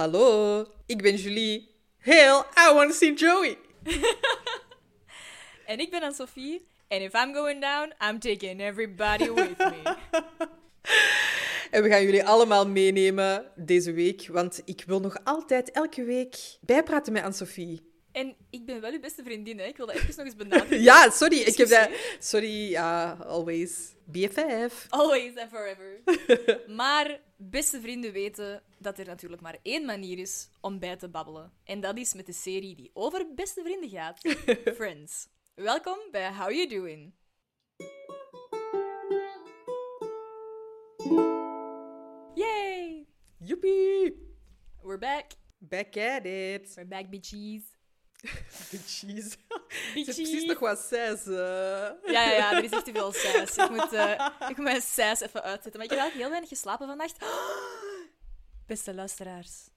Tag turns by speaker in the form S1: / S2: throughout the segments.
S1: Hallo, ik ben Julie. Heel, I want to see Joey.
S2: En ik ben Anne-Sophie. En if I'm going down, I'm taking everybody with me.
S1: En we gaan jullie allemaal meenemen deze week, want ik wil nog altijd elke week bijpraten met Anne-Sophie.
S2: En ik ben wel uw beste vriendin, hè. Ik wil dat even nog eens benadrukken.
S1: Ja, sorry, ik heb dat...
S2: Excuseer.
S1: Sorry, ja, always. BFF.
S2: Always and forever. Maar beste vrienden weten dat er natuurlijk maar één manier is om bij te babbelen. En dat is met de serie die over beste vrienden gaat. Friends. Welkom bij How You Doing. Yay!
S1: Joepie.
S2: We're back.
S1: Back at it.
S2: We're back, bitches.
S1: Jeez. Het is precies nog wat zes. eh.
S2: Ja, ja, ja, er is echt te veel saus. Ik moet, eh, ik moet mijn saus even uitzetten. Maar ik heb eigenlijk heel weinig geslapen vannacht. Beste luisteraars.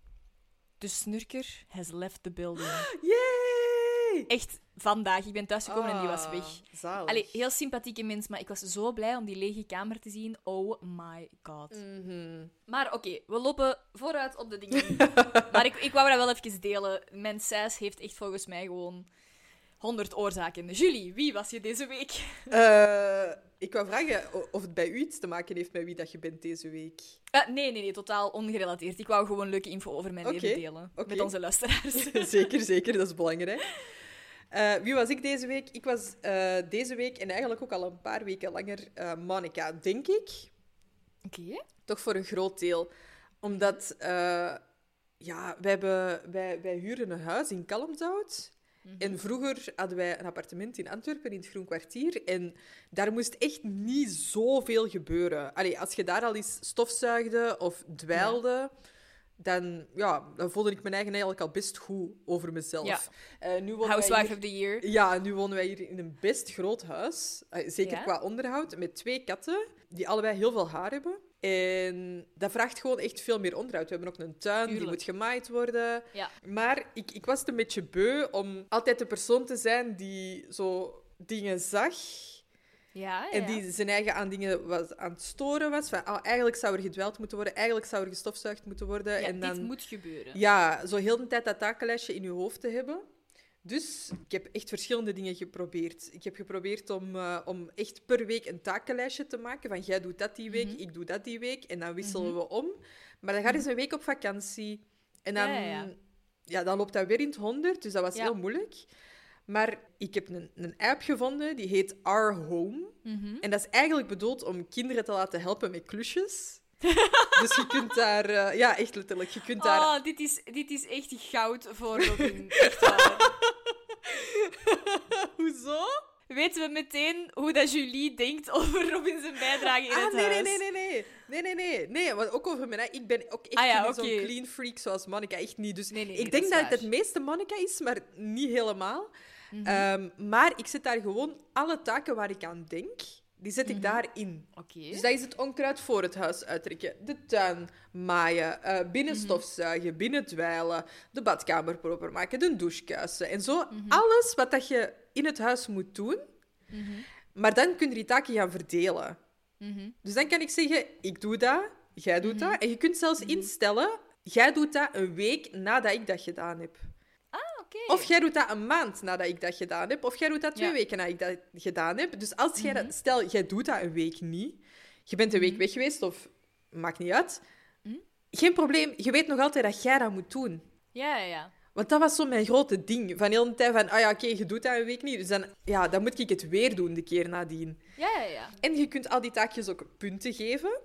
S2: De snurker has left the building.
S1: Yay!
S2: Echt, vandaag. Ik ben thuisgekomen en die was weg.
S1: Ah, Zalig.
S2: Allee, heel sympathieke mens, maar ik was zo blij om die lege kamer te zien. Oh my god.
S1: Mhm.
S2: Maar oké, we lopen vooruit op de dingen. maar ik, ik wou dat wel even delen. Mijn saus heeft echt volgens mij gewoon 100 oorzaken. Julie, wie was je deze week?
S1: Eh, ik wou vragen o- of het bij u iets te maken heeft met wie dat je bent deze week.
S2: Eh, nee, nee, nee, totaal ongerelateerd. Ik wou gewoon leuke info over mijn
S1: Oké,
S2: leven delen.
S1: oké.
S2: Met onze luisteraars.
S1: zeker, zeker, dat is belangrijk. Eh, wie was ik deze week? Ik was eh, deze week en eigenlijk ook al een paar weken langer eh Monica, denk ik.
S2: Oké.
S1: Toch voor een groot deel. Omdat, eh, ja, wij, hebben, wij, wij huren een huis in Kalmthout. En vroeger hadden wij een appartement in Antwerpen, in het Groen Kwartier. En daar moest echt niet zoveel gebeuren. Allee, als je daar al eens stofzuigde of dweilde, dan, ja, dan voelde ik mijn eigen eigenlijk al best goed over mezelf.
S2: Ja.
S1: Eh, nu wonen wij
S2: Housewife
S1: hier-
S2: of the Year.
S1: ja, nu wonen wij hier in een best groot huis. Eh, Zeker
S2: Ja?
S1: qua onderhoud. Met twee katten, die allebei heel veel haar hebben. En dat vraagt gewoon echt veel meer onderhoud. We hebben ook een tuin, die
S2: Tuurlijk.
S1: moet gemaaid worden.
S2: Ja.
S1: Maar ik, ik was het een beetje beu om altijd de persoon te zijn die zo dingen zag.
S2: Ja,
S1: En
S2: ja.
S1: die zijn eigen aan dingen was, aan het storen was. Van, ah, eigenlijk zou er gedweld moeten worden. Eigenlijk zou er gestofzuigd moeten worden.
S2: Ja,
S1: en dan...
S2: dit moet gebeuren.
S1: Ja, zo heel de tijd dat takenlijstje in je hoofd te hebben. Dus ik heb echt verschillende dingen geprobeerd. Ik heb geprobeerd om, eh, om echt per week een takenlijstje te maken. Van jij doet dat die week,
S2: Mhm.
S1: ik doe dat die week. En dan wisselen we om. Maar dan gaat eens een week op vakantie. En dan,
S2: Ja,
S1: ja,
S2: ja, ja.
S1: dan loopt dat weer in het honderd. Dus dat was
S2: Ja.
S1: heel moeilijk. Maar ik heb een, een app gevonden, die heet Our Home.
S2: Mhm.
S1: En dat is eigenlijk bedoeld om kinderen te laten helpen met klusjes. dus je kunt daar... eh, ja, echt letterlijk. Je kunt daar
S2: Oh, dit is, dit is echt goud voor Robin. Echt waar.
S1: Hoezo?
S2: Weten we meteen hoe dat Julie denkt over Robin zijn bijdrage in
S1: ah,
S2: het
S1: nee, nee,
S2: huis?
S1: nee, nee, nee. Nee, nee, nee. Nee, want ook over mijn... ei- Ik ben ook echt
S2: Ah, ja,
S1: niet
S2: oké.
S1: zo'n clean freak zoals Monica. Echt niet. Dus
S2: Nee, nee, nee,
S1: ik denk
S2: dat
S1: dat,
S2: is
S1: het
S2: waar.
S1: het meeste Monica is, maar niet helemaal.
S2: Mhm.
S1: Ehm, maar ik zet daar gewoon alle taken waar ik aan denk, die zet ik daarin.
S2: Mhm. Oké.
S1: Dus dat is het onkruid voor het huis uittrekken, de tuin maaien, eh binnen
S2: Mhm.
S1: stofzuigen, binnen dweilen, de badkamer proper maken, de douche kuisen en zo.
S2: Mhm.
S1: Alles wat dat je in het huis moet doen. Maar dan kun je die taken gaan verdelen.
S2: Mhm.
S1: Dus dan kan ik zeggen, ik doe dat, jij doet dat. En je kunt zelfs instellen, jij doet dat een week nadat ik dat gedaan heb.
S2: Ah, oké.
S1: Of jij doet dat een maand nadat ik dat gedaan heb. Of jij doet dat twee
S2: Ja.
S1: weken nadat ik dat gedaan heb. Dus als jij dat, stel, jij doet dat een week niet. Je bent een week weg geweest of maakt niet uit. Geen probleem, je weet nog altijd dat jij dat moet doen.
S2: Ja, ja, ja.
S1: Want dat was zo mijn grote ding. Van heel de tijd van, ah ja, oké, je doet dat een week niet. Dus dan, ja, dan moet ik het weer doen de keer nadien.
S2: Ja, ja, ja.
S1: En je kunt al die taakjes ook punten geven.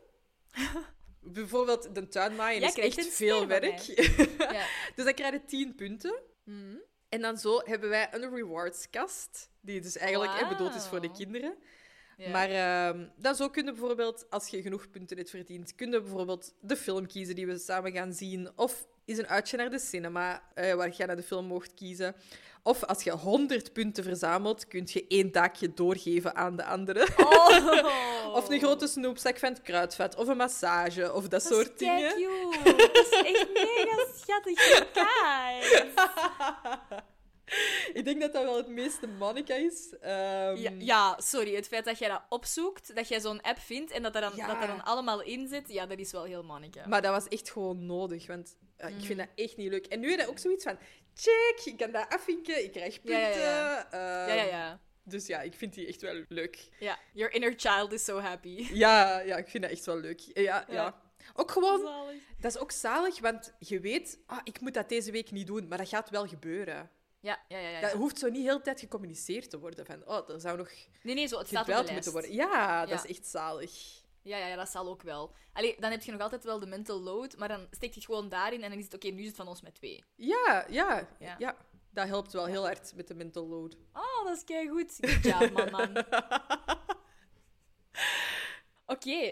S1: Bijvoorbeeld de tuin maaien
S2: Jij
S1: is
S2: krijgt
S1: echt
S2: een ster
S1: veel
S2: van
S1: werk.
S2: ja.
S1: dus dan krijg je 10 punten.
S2: Mhm.
S1: En dan zo hebben wij een rewardskast, die dus eigenlijk hè, bedoeld is voor de
S2: Wauw.
S1: kinderen.
S2: Ja.
S1: Maar ehm, dan zo kunnen bijvoorbeeld, als je genoeg punten hebt verdiend, kunnen bijvoorbeeld de film kiezen die we samen gaan zien. Of is een uitje naar de cinema, eh, waar jij naar de film mocht kiezen. Of als je 100 punten verzamelt, kun je één taakje doorgeven aan de andere.
S2: Oh.
S1: Of een grote snoepzak van het kruidvat, of een massage, of dat, soort dingen.
S2: Cute. Dat is echt mega schattig. Kijk.
S1: Ik denk dat dat wel het meeste mannica is. Ehm,
S2: Ja, ja, sorry. Het feit dat jij dat opzoekt, dat jij zo'n app vindt en dat daar dan,
S1: Ja.
S2: dat daar dan allemaal in zit, ja, dat is wel heel manneke.
S1: Maar dat was echt gewoon nodig, want eh, ik
S2: Mm.
S1: vind dat echt niet leuk. En nu heb je ook zoiets van, check, ik kan dat afvinken, ik krijg
S2: Ja,
S1: punten.
S2: ja, ja.
S1: ehm,
S2: ja, ja, ja.
S1: Dus ja, ik vind die echt wel leuk.
S2: Ja, your inner child is so happy.
S1: Ja, ja ik vind dat echt wel leuk. Ja, ja.
S2: Ja.
S1: Ook gewoon,
S2: Zalig.
S1: dat is ook zalig, want je weet, ah, ik moet dat deze week niet doen, maar dat gaat wel gebeuren.
S2: Ja, ja, ja. ja,
S1: Dat
S2: ja.
S1: hoeft zo niet heel de tijd gecommuniceerd te worden van, oh, dat zou nog
S2: Nee, nee, zo, het staat op de
S1: gebeld moeten
S2: lijst.
S1: worden. Ja, dat
S2: Ja.
S1: is echt zalig.
S2: Ja, ja, ja, dat zal ook wel. Allee, dan heb je nog altijd wel de mental load, maar dan steek je het gewoon daarin en dan is het oké, nu is het van ons met twee.
S1: Ja, ja,
S2: Ja.
S1: ja. Dat helpt wel heel hard met de mental load.
S2: Oh, dat is keigoed. Good job, man, man. Oké,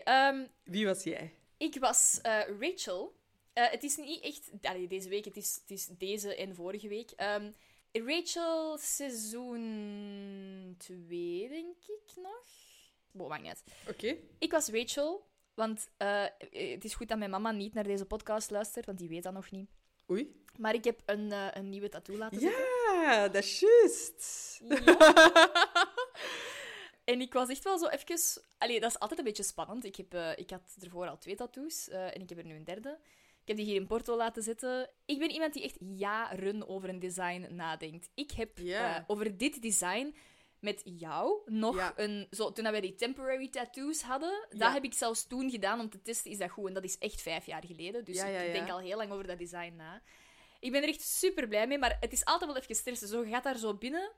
S2: ehm,
S1: Wie was jij?
S2: ik was eh, Rachel. Eh, het is niet echt... Allee, deze week, het is, het is deze en vorige week. Ehm, Rachel seizoen 2, denk ik nog. Bo, maakt niet uit.
S1: Oké.
S2: Ik was Rachel, want eh, eh, het is goed dat mijn mama niet naar deze podcast luistert, want die weet dat nog niet.
S1: Oei.
S2: Maar ik heb een, eh, een nieuwe tattoo laten zetten.
S1: Ja, dat is juist.
S2: En ik was echt wel zo even... Allee, dat is altijd een beetje spannend. Ik, heb, eh, ik had ervoor al twee tattoos eh, en ik heb er nu een derde. Ik heb die hier in Porto laten zitten. Ik ben iemand die echt jaren over een design nadenkt. Ik heb
S1: Ja.
S2: eh, over dit design met jou nog
S1: Ja.
S2: een... Zo, toen dat wij die temporary tattoos hadden, dat
S1: Ja.
S2: heb ik zelfs toen gedaan om te testen, is dat goed? En dat is echt vijf jaar geleden. Dus
S1: Ja, ja,
S2: ik
S1: ja.
S2: denk al heel lang over dat design na. Ik ben er echt super blij mee, maar het is altijd wel even stressen. Zo, je gaat daar zo binnen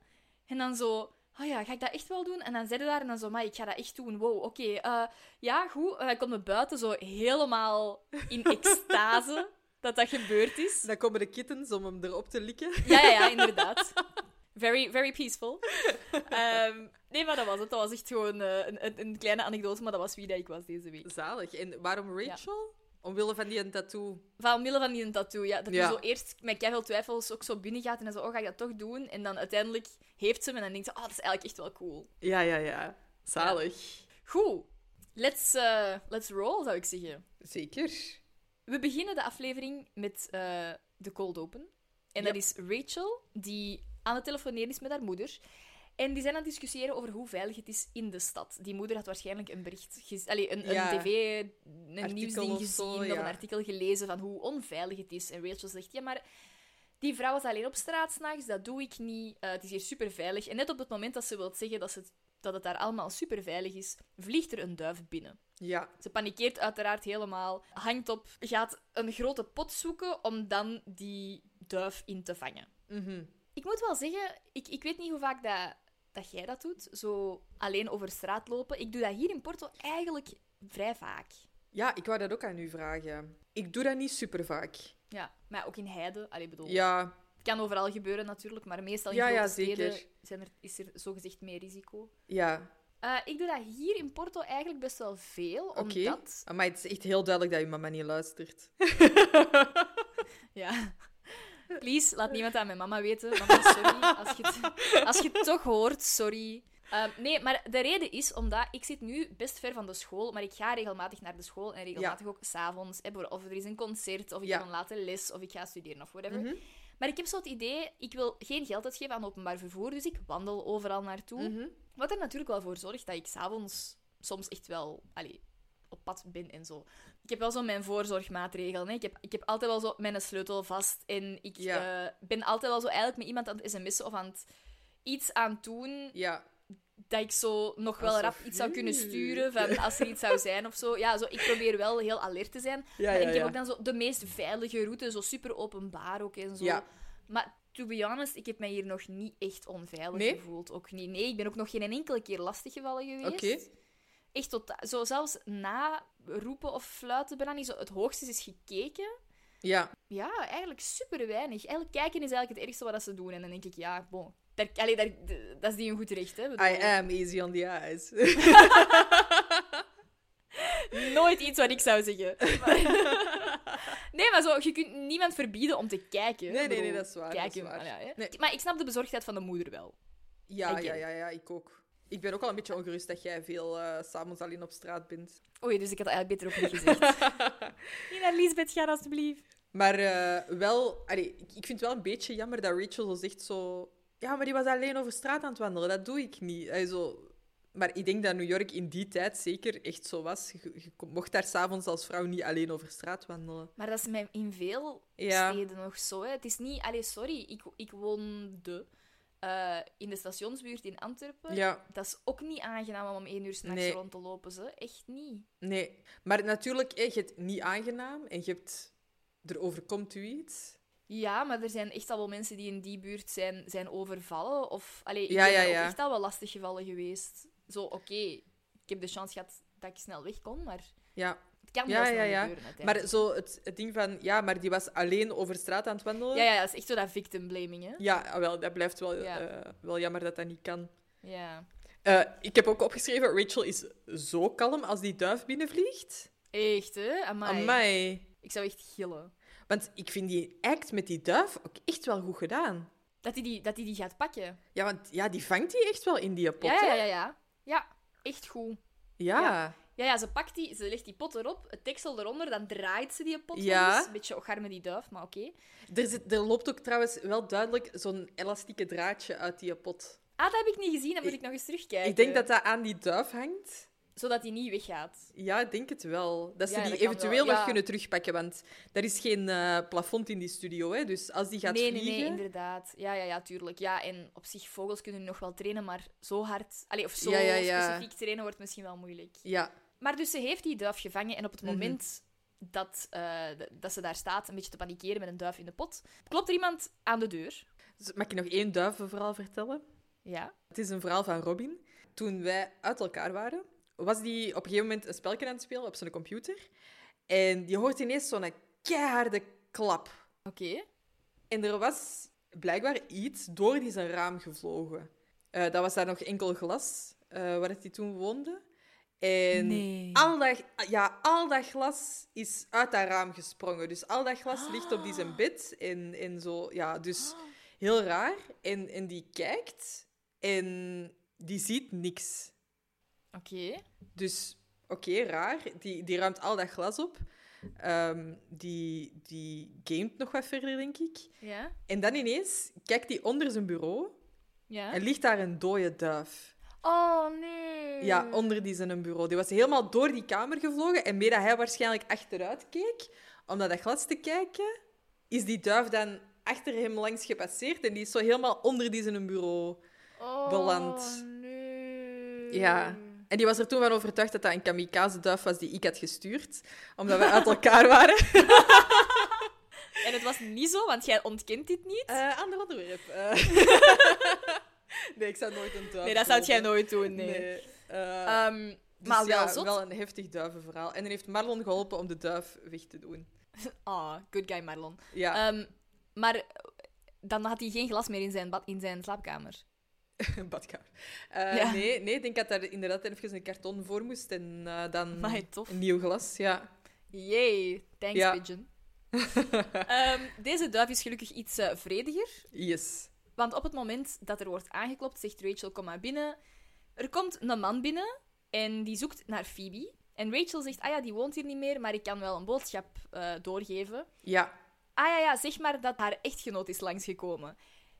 S2: en dan zo... Oh ja, ga ik dat echt wel doen? En dan zit je daar en dan zo, maar ik ga dat echt doen. Wow, oké. eh, ja, goed. En dan komt me buiten zo helemaal in extase dat dat gebeurd is.
S1: Dan komen de kittens om hem erop te likken.
S2: Ja, ja, ja, inderdaad. Very, very peaceful. Ehm, nee, maar dat was het. Dat was echt gewoon eh, een, een, een kleine anekdote, maar dat was wie dat ik was deze week.
S1: Zalig. En waarom Rachel? Omwille van die een tattoo.
S2: Vanwille van die een tattoo, ja. Dat je
S1: Ja.
S2: zo eerst met keihard twijfels ook zo binnen gaat en dan zo, oh, ga ik dat toch doen? En dan uiteindelijk heeft ze hem en dan denkt ze, oh, dat is eigenlijk echt wel cool.
S1: Ja, ja, ja. Zalig.
S2: Goed. Let's, eh, let's roll, zou ik zeggen.
S1: Zeker.
S2: We beginnen de aflevering met eh, de cold open. En dat
S1: Ja.
S2: is Rachel, die aan het telefoneren is met haar moeder. En die zijn aan het discussiëren over hoe veilig het is in de stad. Die moeder had waarschijnlijk een bericht, gez- allee, een, een
S1: Ja.
S2: tv, een
S1: Artikel
S2: nieuwsding
S1: of
S2: gezien,
S1: zo,
S2: of
S1: ja.
S2: een artikel gelezen van hoe onveilig het is. En Rachel zegt, ja, maar die vrouw is alleen op straat s'nachts, dat doe ik niet. Eh, het is hier super veilig. En net op het moment dat ze wil zeggen dat, ze, het- dat het daar allemaal super veilig is, vliegt er een duif binnen.
S1: Ja.
S2: Ze panikeert uiteraard helemaal, hangt op, gaat een grote pot zoeken om dan die duif in te vangen.
S1: Mhm.
S2: Ik moet wel zeggen, ik, ik weet niet hoe vaak dat, dat jij dat doet, zo alleen over straat lopen. Ik doe dat hier in Porto eigenlijk vrij vaak.
S1: Ja, ik wou dat ook aan u vragen. Ik doe dat niet super vaak.
S2: Ja, maar ook in heide. Allee, bedoel,
S1: Ja,
S2: Het kan overal gebeuren natuurlijk, maar meestal in
S1: Ja,
S2: grote
S1: ja,
S2: steden
S1: zeker.
S2: zijn er, is er zogezegd meer risico.
S1: ja.
S2: Eh, ik doe dat hier in Porto eigenlijk best wel veel,
S1: Oké.
S2: omdat...
S1: Maar het is echt heel duidelijk dat je mama niet luistert.
S2: Ja. Please, laat niemand aan mijn mama weten. Mama, sorry. Als je het, als je het toch hoort, sorry. Ehm, nee, maar de reden is omdat ik zit nu best ver van de school, maar ik ga regelmatig naar de school en regelmatig ook s'avonds. Of er is een concert, of ik
S1: Ja.
S2: heb een late les, of ik ga studeren, of whatever.
S1: Mhm.
S2: Maar ik heb zo het idee, ik wil geen geld uitgeven aan openbaar vervoer, dus ik wandel overal naartoe.
S1: Mhm.
S2: Wat er natuurlijk wel voor zorgt dat ik s'avonds soms echt wel allee, op pad ben en zo. Ik heb wel zo mijn voorzorgmaatregel. Hè. Ik, heb, ik heb altijd wel zo mijn sleutel vast. En ik
S1: Ja.
S2: eh, ben altijd wel zo eigenlijk met iemand aan het sms'en of aan het iets aan het doen
S1: Ja.
S2: dat ik zo nog wel
S1: Alsof
S2: rap iets zou kunnen
S1: u-
S2: sturen van als er iets zou zijn of zo. Ja, zo, ik probeer wel heel alert te zijn.
S1: Ja,
S2: Maar
S1: ja,
S2: ik heb ook
S1: ja.
S2: dan zo de meest veilige route, zo super openbaar ook en zo.
S1: Ja.
S2: Maar to be honest, ik heb mij hier nog niet echt onveilig
S1: Nee?
S2: gevoeld. Ook niet. Nee, ik ben ook nog geen enkele keer lastiggevallen geweest.
S1: Oké.
S2: Echt tot, zo zelfs na roepen of fluiten bijna niet. Zo, het hoogste is gekeken.
S1: Ja.
S2: Ja, eigenlijk super weinig. Eigenlijk kijken is eigenlijk het ergste wat dat ze doen. En dan denk ik, ja, bon. Daar, allee, daar, d- dat is die een goed recht, hè? Ik bedoel,
S1: I am easy on the eyes.
S2: Nooit iets wat ik zou zeggen. Maar- nee, maar zo, je kunt niemand verbieden om te kijken.
S1: Nee, nee,
S2: Ik bedoel,
S1: nee, dat is waar,
S2: Kijken,
S1: dat is waar.
S2: maar ja, hè.
S1: Nee.
S2: Maar ik snap de bezorgdheid van de moeder wel. I
S1: Ja,
S2: get
S1: ja,
S2: it.
S1: ja, ja, ik ook. Ik ben ook al een beetje ongerust dat jij veel eh, s'avonds alleen op straat bent.
S2: Oei, dus ik had dat eigenlijk beter ook niet gezegd. niet naar Lisbeth gaan, alstublieft.
S1: Maar eh, wel, allee, ik, ik vind het wel een beetje jammer dat Rachel zo zegt zo... Ja, maar die was alleen over straat aan het wandelen. Dat doe ik niet. Hij zo... Maar ik denk dat New York in die tijd zeker echt zo was. Je, je kon- mocht daar s'avonds als vrouw niet alleen over straat wandelen.
S2: Maar dat is mijn- in veel
S1: Ja.
S2: steden nog zo. Hè. Het is niet... Allee, sorry, ik, ik woonde eh, in de stationsbuurt in Antwerpen.
S1: Ja,
S2: Dat is ook niet aangenaam om om één uur s'nachts
S1: Nee.
S2: rond te lopen, ze. Echt niet.
S1: nee. Maar natuurlijk, hè, je hebt niet aangenaam en je hebt... Er overkomt u iets.
S2: Ja, maar er zijn echt al wel mensen die in die buurt zijn, zijn overvallen. Of, allee, ik
S1: Ja,
S2: ben
S1: ja,
S2: daar ook
S1: ja.
S2: echt al wel lastig gevallen geweest. Zo, oké, ik heb de chance gehad dat ik snel weg kon, maar
S1: Ja,
S2: het kan
S1: Ja,
S2: wel snel
S1: ja, ja.
S2: gebeuren
S1: maar
S2: uiteindelijk.
S1: zo het, het ding van... Ja, maar die was alleen over straat aan het wandelen.
S2: Ja, ja, dat is echt zo dat victim blaming, hè.
S1: Ja, ah, wel, dat blijft wel,
S2: Ja.
S1: eh, wel jammer dat dat niet kan.
S2: Ja.
S1: Eh, ik heb ook opgeschreven, Rachel is zo kalm als die duif binnenvliegt.
S2: Echt, hè? Amai.
S1: Amai.
S2: Ik zou echt gillen.
S1: Want ik vind die act met die duif ook echt wel goed gedaan.
S2: Dat hij die, dat die, die gaat pakken.
S1: Ja, want ja, die vangt die echt wel in die pot.
S2: Ja, ja,
S1: hè?
S2: ja, ja. Ja, echt goed.
S1: Ja.
S2: Ja, ja, ze pakt die, ze legt die pot erop, het deksel eronder, dan draait ze die pot nog
S1: Ja.
S2: eens. Een beetje ogar met die duif, maar oké.
S1: Er, zit, er loopt ook trouwens wel duidelijk zo'n elastieke draadje uit die pot.
S2: Ah, dat heb ik niet gezien, dat moet
S1: Ik-
S2: ik nog eens terugkijken.
S1: Ik denk dat dat aan die duif hangt.
S2: Zodat hij niet weggaat.
S1: Ja, ik denk het wel. Dat ze
S2: Ja,
S1: die
S2: dat kan
S1: eventueel
S2: wel,
S1: nog
S2: ja.
S1: kunnen terugpakken, want er is geen eh, plafond in die studio. Hè? Dus als die gaat
S2: nee, nee,
S1: vliegen...
S2: nee, inderdaad. Ja, ja, ja, tuurlijk. Ja, en op zich, vogels kunnen nog wel trainen, maar zo hard... Allee, of zo
S1: Ja, ja, ja.
S2: specifiek trainen wordt misschien wel moeilijk.
S1: Ja,
S2: Maar dus ze heeft die duif gevangen en op het
S1: Mhm.
S2: moment dat, eh, d- dat ze daar staat, een beetje te panikeren met een duif in de pot, klopt er iemand aan de deur.
S1: Dus mag ik nog één duivenverhaal vertellen?
S2: Ja.
S1: Het is een verhaal van Robin. Toen wij uit elkaar waren, was die op een gegeven moment een spelletje aan het spelen op zijn computer. En je hoort ineens zo'n keiharde klap.
S2: Oké.
S1: En er was blijkbaar iets door die zijn raam gevlogen. Eh, dat was daar nog enkel glas, eh, waar hij toen woonde. En
S2: Nee.
S1: al, dat, ja, al dat glas is uit dat raam gesprongen. Dus al dat glas ligt op die zijn bed. En, en zo, ja, dus heel raar. En, en die kijkt en die ziet niks.
S2: Oké.
S1: Dus oké, raar. Die, die ruimt al dat glas op. Ehm, die, die gamet nog wat verder, denk ik.
S2: Ja.
S1: En dan ineens kijkt hij onder zijn bureau
S2: Ja.
S1: en ligt daar een dode duif.
S2: Oh, nee.
S1: Ja, onder die zijn bureau. Die was helemaal door die kamer gevlogen. En mee dat hij waarschijnlijk achteruit keek, om naar dat glas te kijken, is die duif dan achter hem langs gepasseerd. En die is zo helemaal onder die zijn bureau
S2: oh,
S1: beland.
S2: nee.
S1: Ja. En die was er toen van overtuigd dat dat een kamikaze-duif was die ik had gestuurd, omdat we uit elkaar waren.
S2: En het was niet zo, want jij ontkent dit niet.
S1: Eh, ander onderwerp. eh. nee, ik zou nooit een duif
S2: Eh. Nee, dat zou jij
S1: doden.
S2: nooit doen, nee.
S1: Nee. Eh,
S2: Ehm,
S1: dus
S2: maar wel
S1: ja,
S2: zot.
S1: wel een heftig duivenverhaal. En er heeft Marlon geholpen om de duif weg te doen.
S2: Ah, good guy Marlon.
S1: Ja.
S2: Ehm, maar dan had hij geen glas meer in zijn, bad, in zijn slaapkamer.
S1: Een badkamer. Eh,
S2: Ja.
S1: nee, nee, ik denk dat daar inderdaad even een karton voor moest en eh, dan
S2: Amai, tof.
S1: een nieuw glas. Ja.
S2: Yay, thanks
S1: Ja.
S2: pigeon. Ehm, deze duif is gelukkig iets eh, vrediger.
S1: Yes.
S2: Want op het moment dat er wordt aangeklopt, zegt Rachel, kom maar binnen. Er komt een man binnen en die zoekt naar Phoebe. En Rachel zegt, ah ja, die woont hier niet meer, maar ik kan wel een boodschap eh, doorgeven.
S1: Ja.
S2: Ah ja, ja, zeg maar dat haar echtgenoot is langsgekomen.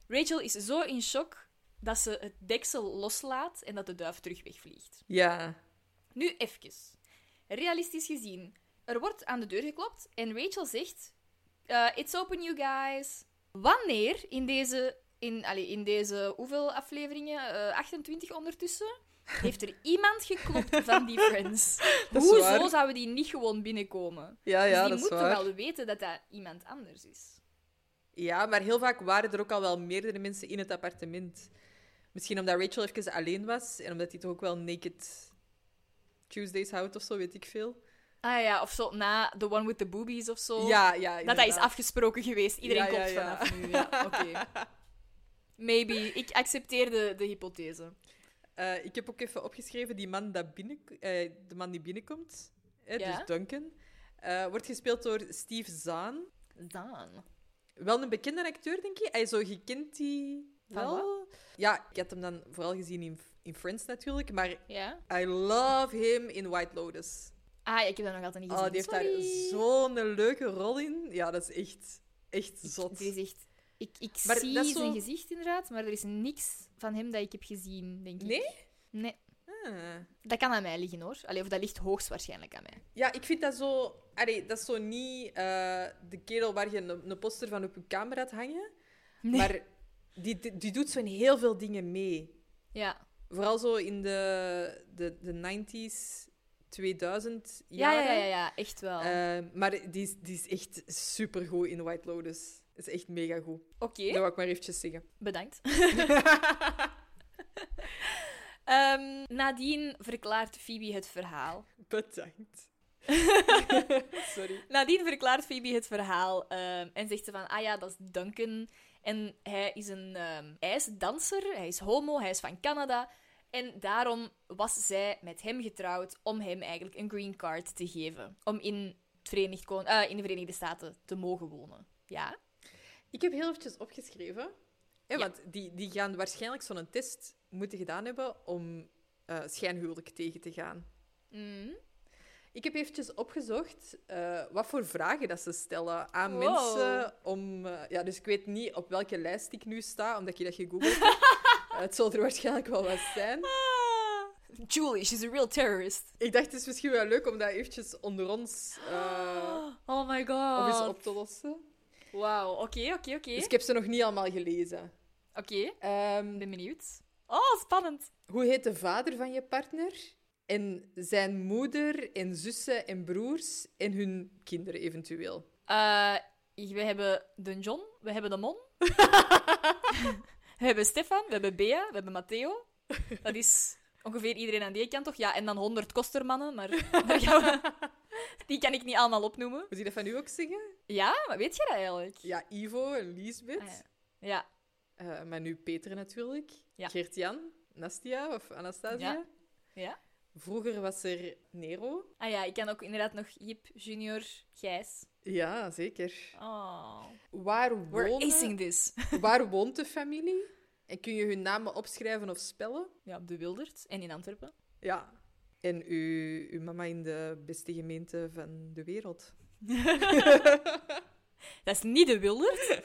S2: Rachel is zo in shock dat ze het deksel loslaat en dat de duif terug wegvliegt.
S1: Ja.
S2: Nu even. Realistisch gezien, er wordt aan de deur geklopt en Rachel zegt: eh, It's open, you guys. Wanneer in deze, in, allee, in deze hoeveel afleveringen? Eh, 28 ondertussen. Heeft er iemand geklopt van die friends?
S1: Dat is
S2: Hoezo
S1: waar.
S2: zouden die niet gewoon binnenkomen?
S1: Ja, ja,
S2: dus die
S1: dat is
S2: moeten
S1: waar.
S2: wel weten dat dat iemand anders is.
S1: Ja, maar heel vaak waren er ook al wel meerdere mensen in het appartement. Misschien omdat Rachel even alleen was en omdat hij toch ook wel Naked Tuesdays houdt of zo, weet ik veel.
S2: Ah ja, of zo na The One with the Boobies of zo.
S1: Ja, ja.
S2: dat dat is
S1: inderdaad.
S2: afgesproken geweest. Iedereen
S1: Ja, ja,
S2: komt
S1: ja.
S2: vanaf nu. Ja, oké. Maybe. Ik accepteer de, de hypothese.
S1: Eh, ik heb ook even opgeschreven, die man dat binnen, eh, de man die binnenkomt, hè,
S2: Ja.
S1: dus Duncan, eh, wordt gespeeld door Steve Zaan.
S2: Dan.
S1: Wel een bekende acteur, denk ik. Hij is zo gekend die
S2: Van
S1: wel. Ja, ik had hem dan vooral gezien in, in Friends natuurlijk, maar
S2: Ja?
S1: I love him in White Lotus.
S2: Ah, ja, ik heb dat nog altijd niet
S1: Oh,
S2: gezien.
S1: die heeft
S2: Sorry.
S1: daar zo'n leuke rol in. Ja, dat is echt, echt
S2: Ik-
S1: zot.
S2: Die is echt Ik, ik
S1: Maar
S2: zie
S1: dat
S2: zijn
S1: is zo-
S2: gezicht inderdaad, maar er is niks van hem dat ik heb gezien, denk ik.
S1: Nee?
S2: Nee.
S1: Ah.
S2: Dat kan aan mij liggen, hoor. Allee, of dat ligt hoogstwaarschijnlijk aan mij.
S1: Ja, ik vind dat zo... Allee, dat is zo niet eh, de kerel waar je een, een poster van op je camera had hangen.
S2: Nee.
S1: Maar die, die, die doet zo in heel veel dingen mee.
S2: Ja.
S1: Vooral zo in de, de, de 90s, 2000
S2: Ja,
S1: jaren.
S2: ja, ja, ja, echt wel.
S1: Eh, maar die is, die is echt supergoed in White Lotus. Dat is echt mega goed.
S2: Oké,
S1: Dat wou ik maar eventjes zeggen.
S2: bedankt. Ehm, nadien verklaart Phoebe het verhaal.
S1: Bedankt. Sorry.
S2: Nadien verklaart Phoebe het verhaal ehm, en zegt ze van, ah ja, dat is Duncan. En hij is een ehm, hij is danser, hij is homo, hij is van Canada. En daarom was zij met hem getrouwd om hem eigenlijk een green card te geven. Om in, het Verenigd Kon- eh, in de Verenigde Staten te mogen wonen. Ja,
S1: Ik heb heel eventjes opgeschreven. Hè,
S2: Ja.
S1: Want die, die gaan waarschijnlijk zo'n test moeten gedaan hebben om eh schijnhuwelijk tegen te gaan.
S2: Mhm.
S1: Ik heb eventjes opgezocht eh, wat voor vragen dat ze stellen aan
S2: Wow.
S1: mensen om... eh, ja, dus ik weet niet op welke lijst ik nu sta, omdat je dat gegoogeld hebt. Eh, het zal er waarschijnlijk wel wat zijn.
S2: Ah. Julie, she's a real terrorist.
S1: Ik dacht, het is misschien wel leuk om dat eventjes onder ons eh
S2: oh my
S1: om eens
S2: god.
S1: op te lossen.
S2: Wauw, oké, oké, oké.
S1: Dus ik
S2: Oké,
S1: heb ze nog niet allemaal gelezen.
S2: ik
S1: Ehm,
S2: ben benieuwd. Oh, spannend.
S1: hoe heet de vader van je partner? En zijn moeder en zussen en broers en hun kinderen eventueel.
S2: Eh, we hebben de John, we hebben de Mon. we hebben Stefan, we hebben Bea, we hebben Matteo. Dat is ongeveer iedereen aan die kant, toch? Ja, en dan 100 kostermannen, maar daar gaan we... die kan ik niet allemaal opnoemen.
S1: Moet ik dat van u ook zeggen?
S2: Ja, maar weet je dat eigenlijk?
S1: Ja, Ivo en Lisbeth.
S2: Ah, ja. ja.
S1: Eh, maar nu Peter natuurlijk.
S2: Ja.
S1: Geert-Jan, Nastia of Anastasia.
S2: Ja. Ja.
S1: Vroeger was er Nero.
S2: Ah ja, ik kan ook inderdaad nog Jip, Junior, Gijs.
S1: Ja, zeker.
S2: Oh.
S1: Waar,
S2: We're
S1: wonen,
S2: acing this.
S1: waar woont de familie? En kun je hun namen opschrijven of spellen?
S2: Ja, bewilderd. En in Antwerpen.
S1: Ja. En uw, uw mama in de beste gemeente van de wereld.
S2: Dat is niet de Wildert.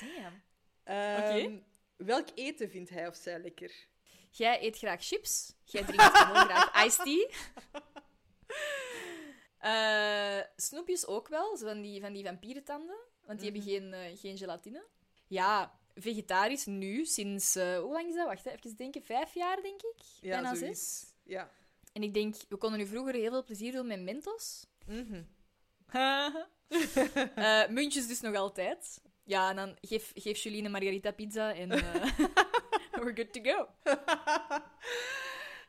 S2: Damn.
S1: Ehm, Welk eten vindt hij of zij lekker?
S2: Jij eet graag chips. Jij drinkt gewoon graag iced tea. Eh, snoepjes ook wel. Zo van die, van die vampierentanden. Want die hebben geen, eh, geen gelatine. Ja, vegetarisch nu. Sinds... eh, hoe lang is dat? Wacht, hè, even denken. Vijf jaar, denk ik. Bijna
S1: zoiets.
S2: zes.
S1: Ja.
S2: En ik denk, we konden nu vroeger heel veel plezier doen met mentos.
S1: Mhm.
S2: Eh, muntjes dus nog altijd. Ja, en dan geef, geef Juline margarita pizza en eh, we're good to go.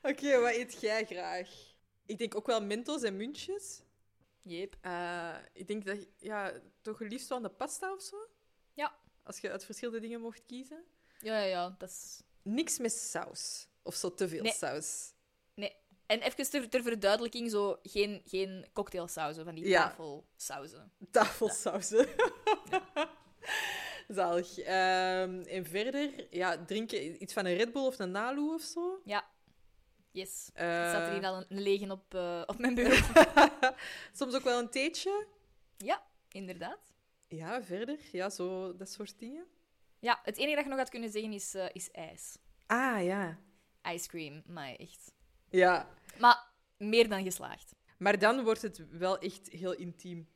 S1: Oké, wat eet jij graag? Ik denk ook wel mentos en muntjes.
S2: Jeep.
S1: Eh, ik denk dat ja, toch liefst wel aan de pasta of zo?
S2: Ja.
S1: Als je uit verschillende dingen mocht kiezen.
S2: Ja, ja, ja. Dat is...
S1: Niks met saus. Of zo te veel
S2: Nee.
S1: saus.
S2: En even ter, ter verduidelijking, zo geen, geen cocktailsauzen, van die
S1: Ja.
S2: tafelsauzen.
S1: Tafelsausen. Zalig. Ehm, en verder, ja, drinken iets van een Red Bull of een Nalu of zo.
S2: Yes.
S1: Eh,
S2: Er staat er hier al een, een lege op, eh, op mijn bureau.
S1: soms ook wel een theetje.
S2: Inderdaad.
S1: Ja, verder. Ja, zo dat soort dingen.
S2: Ja, het enige dat je nog had kunnen zeggen is, eh, is ijs.
S1: Ah, ja.
S2: Ice cream, maar echt.
S1: Ja.
S2: Maar meer dan geslaagd.
S1: Maar dan wordt het wel echt heel intiem.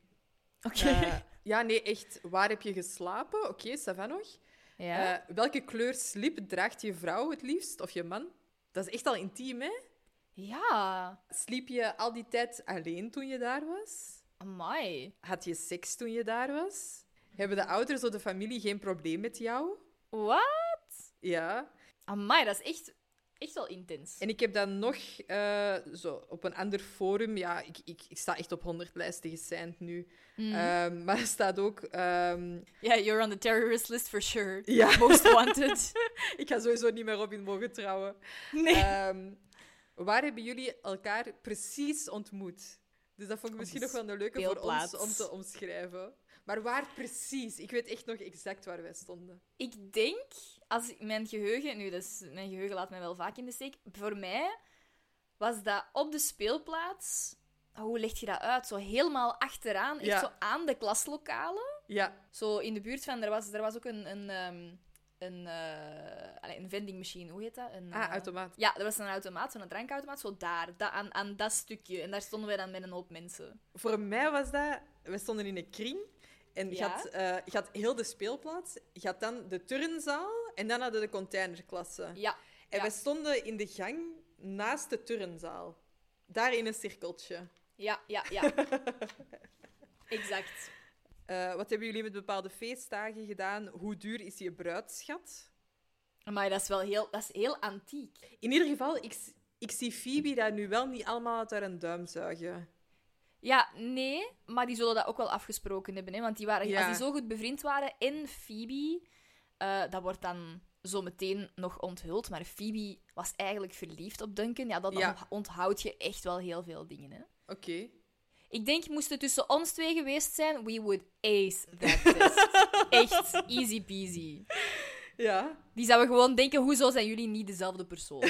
S2: Oké.
S1: Eh, ja, nee, echt. Waar heb je geslapen? Oké, Savannah nog.
S2: ja.
S1: Eh, welke kleur slip draagt je vrouw het liefst? Of je man? Dat is echt al intiem, hè?
S2: Ja.
S1: Sliep je al die tijd alleen toen je daar was?
S2: Amai.
S1: Had je seks toen je daar was? Hebben de ouders of de familie geen probleem met jou?
S2: Wat?
S1: Ja.
S2: Amai, dat is echt, echt wel intens.
S1: En ik heb dan nog eh, zo op een ander forum. Ja, ik, ik, ik sta echt op 100 lijsten geseind nu.
S2: Mhm.
S1: Ehm, maar er staat ook. ehm,
S2: Ja, you're on the terrorist list for sure.
S1: ja,
S2: Most wanted.
S1: ik ga sowieso niet meer Robin mogen trouwen.
S2: nee. Eh,
S1: Ehm, waar hebben jullie elkaar precies ontmoet? Dus dat vond ik misschien
S2: de
S1: nog wel een leuke voor
S2: speelplaats.
S1: ons om te omschrijven. Maar waar precies? Ik weet echt nog exact waar wij stonden.
S2: Ik denk, als ik mijn geheugen... Nu, dat is, mijn geheugen laat mij wel vaak in de steek. Voor mij was dat op de speelplaats... Hoe leg je dat uit? Zo helemaal achteraan, echt
S1: Ja.
S2: zo aan de klaslokalen.
S1: Ja.
S2: Zo in de buurt van, er was, er was ook een, een, ehm, een, eh, allee, een vending machine, hoe heet dat? Een,
S1: Ah,
S2: eh,
S1: automaat.
S2: Ja, er was een automaat, zo'n drankautomaat, zo daar, da- aan, aan dat stukje. En daar stonden wij dan met een hoop mensen.
S1: Voor mij was dat... We stonden in een kring. En je,
S2: Ja.
S1: had, eh, je had heel de speelplaats. Je had dan de turnzaal. En dan hadden we de containerklasse.
S2: Ja,
S1: En
S2: ja.
S1: we stonden in de gang naast de turnzaal. Daar in een cirkeltje.
S2: ja, ja, ja. exact.
S1: Eh, wat hebben jullie met bepaalde feestdagen gedaan? Hoe duur is je bruidschat?
S2: Maar dat is wel heel, dat is heel antiek.
S1: In ieder geval, ik, s- ik zie Phoebe daar nu wel niet allemaal uit haar een duim zuigen.
S2: Ja, nee, maar die zullen dat ook wel afgesproken hebben. Hè? Want die waren,
S1: Ja.
S2: als die zo goed bevriend waren en Phoebe, eh, dat wordt dan zo meteen nog onthuld. Maar Phoebe was eigenlijk verliefd op Duncan. Ja, dat
S1: Ja.
S2: onthoud onthoud je echt wel heel veel dingen. Hè?
S1: Oké.
S2: Ik denk, moest het tussen ons twee geweest zijn, we would ace that test. Echt easy peasy.
S1: Ja.
S2: Die zouden gewoon denken, hoezo zijn jullie niet dezelfde persoon?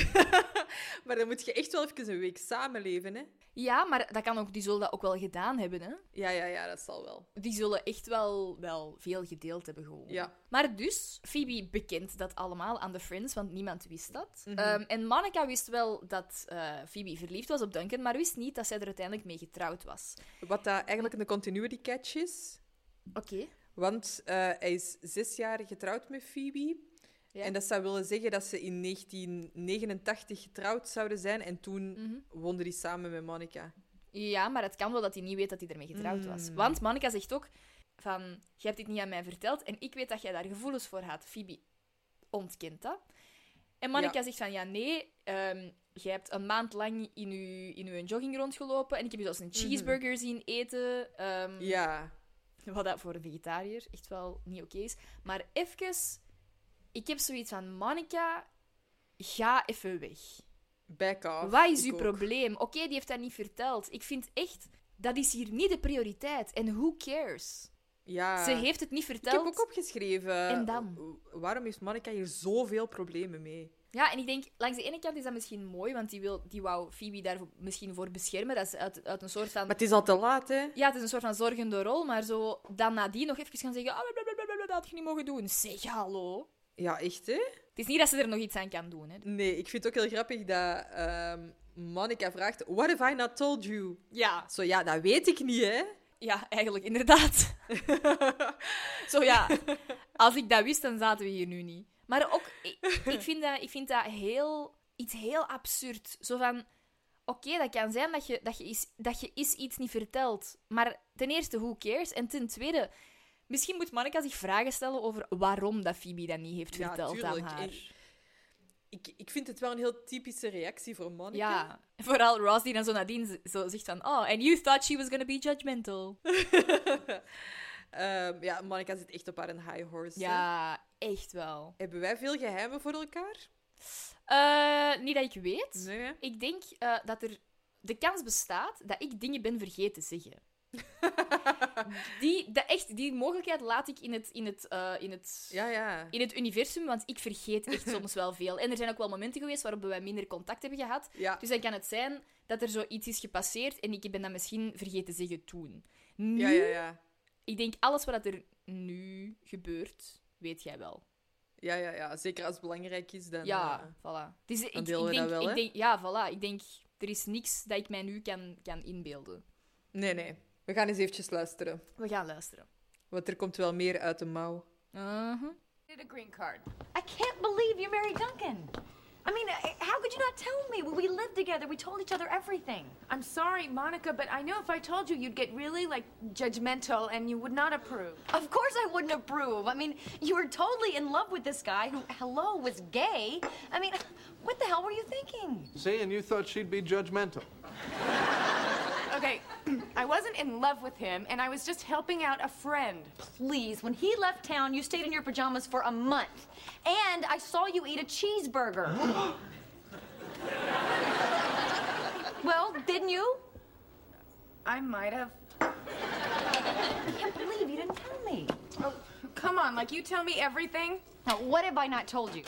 S1: Maar dan moet je echt wel even een week samenleven, hè?
S2: Ja, maar dat kan ook, die zullen dat ook wel gedaan hebben, hè?
S1: Ja, ja, ja, dat zal wel.
S2: Die zullen echt wel, wel veel gedeeld hebben gewoon.
S1: Ja.
S2: Maar dus, Phoebe bekent dat allemaal aan de Friends, want niemand wist dat. Ehm, en Monica wist wel dat eh, Phoebe verliefd was op Duncan, maar wist niet dat zij er uiteindelijk mee getrouwd was.
S1: Wat dat eigenlijk een continuity catch is.
S2: Oké.
S1: Want eh, hij is zes jaar getrouwd met Phoebe.
S2: Ja.
S1: En dat zou willen zeggen dat ze in 1989 getrouwd zouden zijn. En toen
S2: Mm. Mhm.
S1: woonde hij samen met Monica.
S2: Ja, maar het kan wel dat hij niet weet dat hij ermee getrouwd
S1: Hmm.
S2: was. Want Monica zegt ook van, je hebt dit niet aan mij verteld en ik weet dat jij daar gevoelens voor had. Phoebe ontkent dat. En Monica
S1: Ja.
S2: zegt van, ja nee, ehm jij hebt een maand lang in je, in uw jogging rondgelopen en ik heb je zelfs een cheeseburger zien eten. ehm,
S1: Mhm. Ja.
S2: Wat dat voor een vegetariër echt wel niet oké is. Maar even, ik heb zoiets van, Monica, ga even weg.
S1: Back off.
S2: Wat is
S1: Ik
S2: uw
S1: ook.
S2: probleem? Oké, die heeft dat niet verteld. Ik vind echt, dat is hier niet de prioriteit. En who cares?
S1: Ja.
S2: Ze heeft het niet
S1: Ah. Ik heb
S2: verteld.
S1: ook opgeschreven.
S2: En dan?
S1: w- Waarom heeft Monica hier zoveel problemen mee?
S2: Ja, en ik denk, langs de ene kant is dat misschien mooi, want die, wil, die wou Phoebe daar misschien voor beschermen. Dat is uit, uit een soort van...
S1: Maar het is al te laat, hè?
S2: Ja, het is een soort van zorgende rol, maar zo dan nadien nog even gaan zeggen... Ah, blablabla, dat had je niet mogen doen. Zeg hallo.
S1: Ja, echt, hè?
S2: Het is niet dat ze er nog iets aan kan doen, hè.
S1: Nee, ik vind het ook heel grappig dat ehm Monica vraagt: What have I not told you?
S2: Ja,
S1: Zo ja, dat weet ik niet, hè?
S2: ja, eigenlijk, inderdaad. Zo ja, als ik dat wist, dan zaten we hier nu niet. Maar ook, ik, ik vind dat, ik vind dat heel, iets heel absurd. Zo van, oké, dat kan zijn dat je, dat, je is, dat je is iets niet vertelt. Maar ten eerste, who cares? En ten tweede, misschien moet Monica zich vragen stellen over waarom dat Phoebe dat niet heeft
S1: Ja,
S2: verteld aan
S1: tuurlijk.
S2: haar.
S1: Ik, ik, ik vind het wel een heel typische reactie voor Monica.
S2: Ja, vooral Ross die dan zo nadien z- zo zegt van, oh, and you thought she was gonna be judgmental.
S1: Ehm, ja, Monica zit echt op haar een high horse. hè.
S2: Ja, echt wel.
S1: Hebben wij veel geheimen voor elkaar?
S2: Eh, niet dat ik weet.
S1: Nee. hè?
S2: Ik denk eh, dat er de kans bestaat dat ik dingen ben vergeten zeggen. die, dat echt, die mogelijkheid laat ik in het, in, het, eh, in, het,
S1: Ja, ja.
S2: in het universum, want ik vergeet echt soms wel veel. En er zijn ook wel momenten geweest waarop wij minder contact hebben gehad.
S1: Ja,
S2: Dus dan kan het zijn dat er zoiets is gepasseerd en ik ben dat misschien vergeten zeggen toen. Nu,
S1: ja, ja. ja.
S2: ik denk alles wat er nu gebeurt, weet jij wel.
S1: Ja, ja, ja. Zeker als het belangrijk is, dan...
S2: Ja,
S1: eh,
S2: voilà. Dus ik, ik,
S1: delen we
S2: denk,
S1: dat wel, hè?
S2: ik denk, ja, voilà. Ik denk, er is niks dat ik mij nu kan, kan inbeelden.
S1: Nee, nee. We gaan eens eventjes luisteren.
S2: We gaan luisteren.
S1: Want er komt wel meer uit de mouw.
S3: Did a green card.
S4: I can't believe you married Duncan. I mean, I- how could you not tell me? We lived together. We told each other everything.
S3: I'm sorry, Monica, but I know if I told you, you'd get really like judgmental and you would not approve.
S4: Of course, I wouldn't approve. I mean, you were totally in love with this guy who, hello, was gay. I mean, what the hell were you thinking?
S5: See, and you thought she'd be judgmental.
S3: Okay, I wasn't in love with him and I was just helping out a friend.
S4: Please, when he left town, you stayed in your pajamas for a month. And I saw you eat a cheeseburger. well, didn't you?
S3: I might have.
S4: I can't believe you didn't tell me.
S3: Oh, come on, like you tell me everything?
S4: Now, what have I not told you?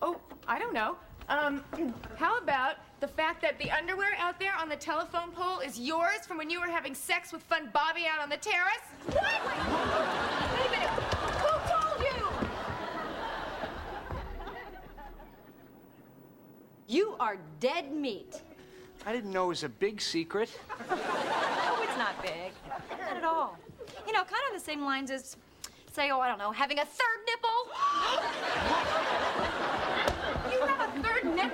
S3: Oh, I don't know. Um, how about the fact that the underwear out there on the telephone pole is yours from when you were having sex with Fun Bobby out on the terrace?
S4: are dead meat.
S6: I didn't know it was a big secret.
S4: Oh, it's not big. Not at all. You know, kind of the same lines as, say, oh, I don't know, having a third nipple. you have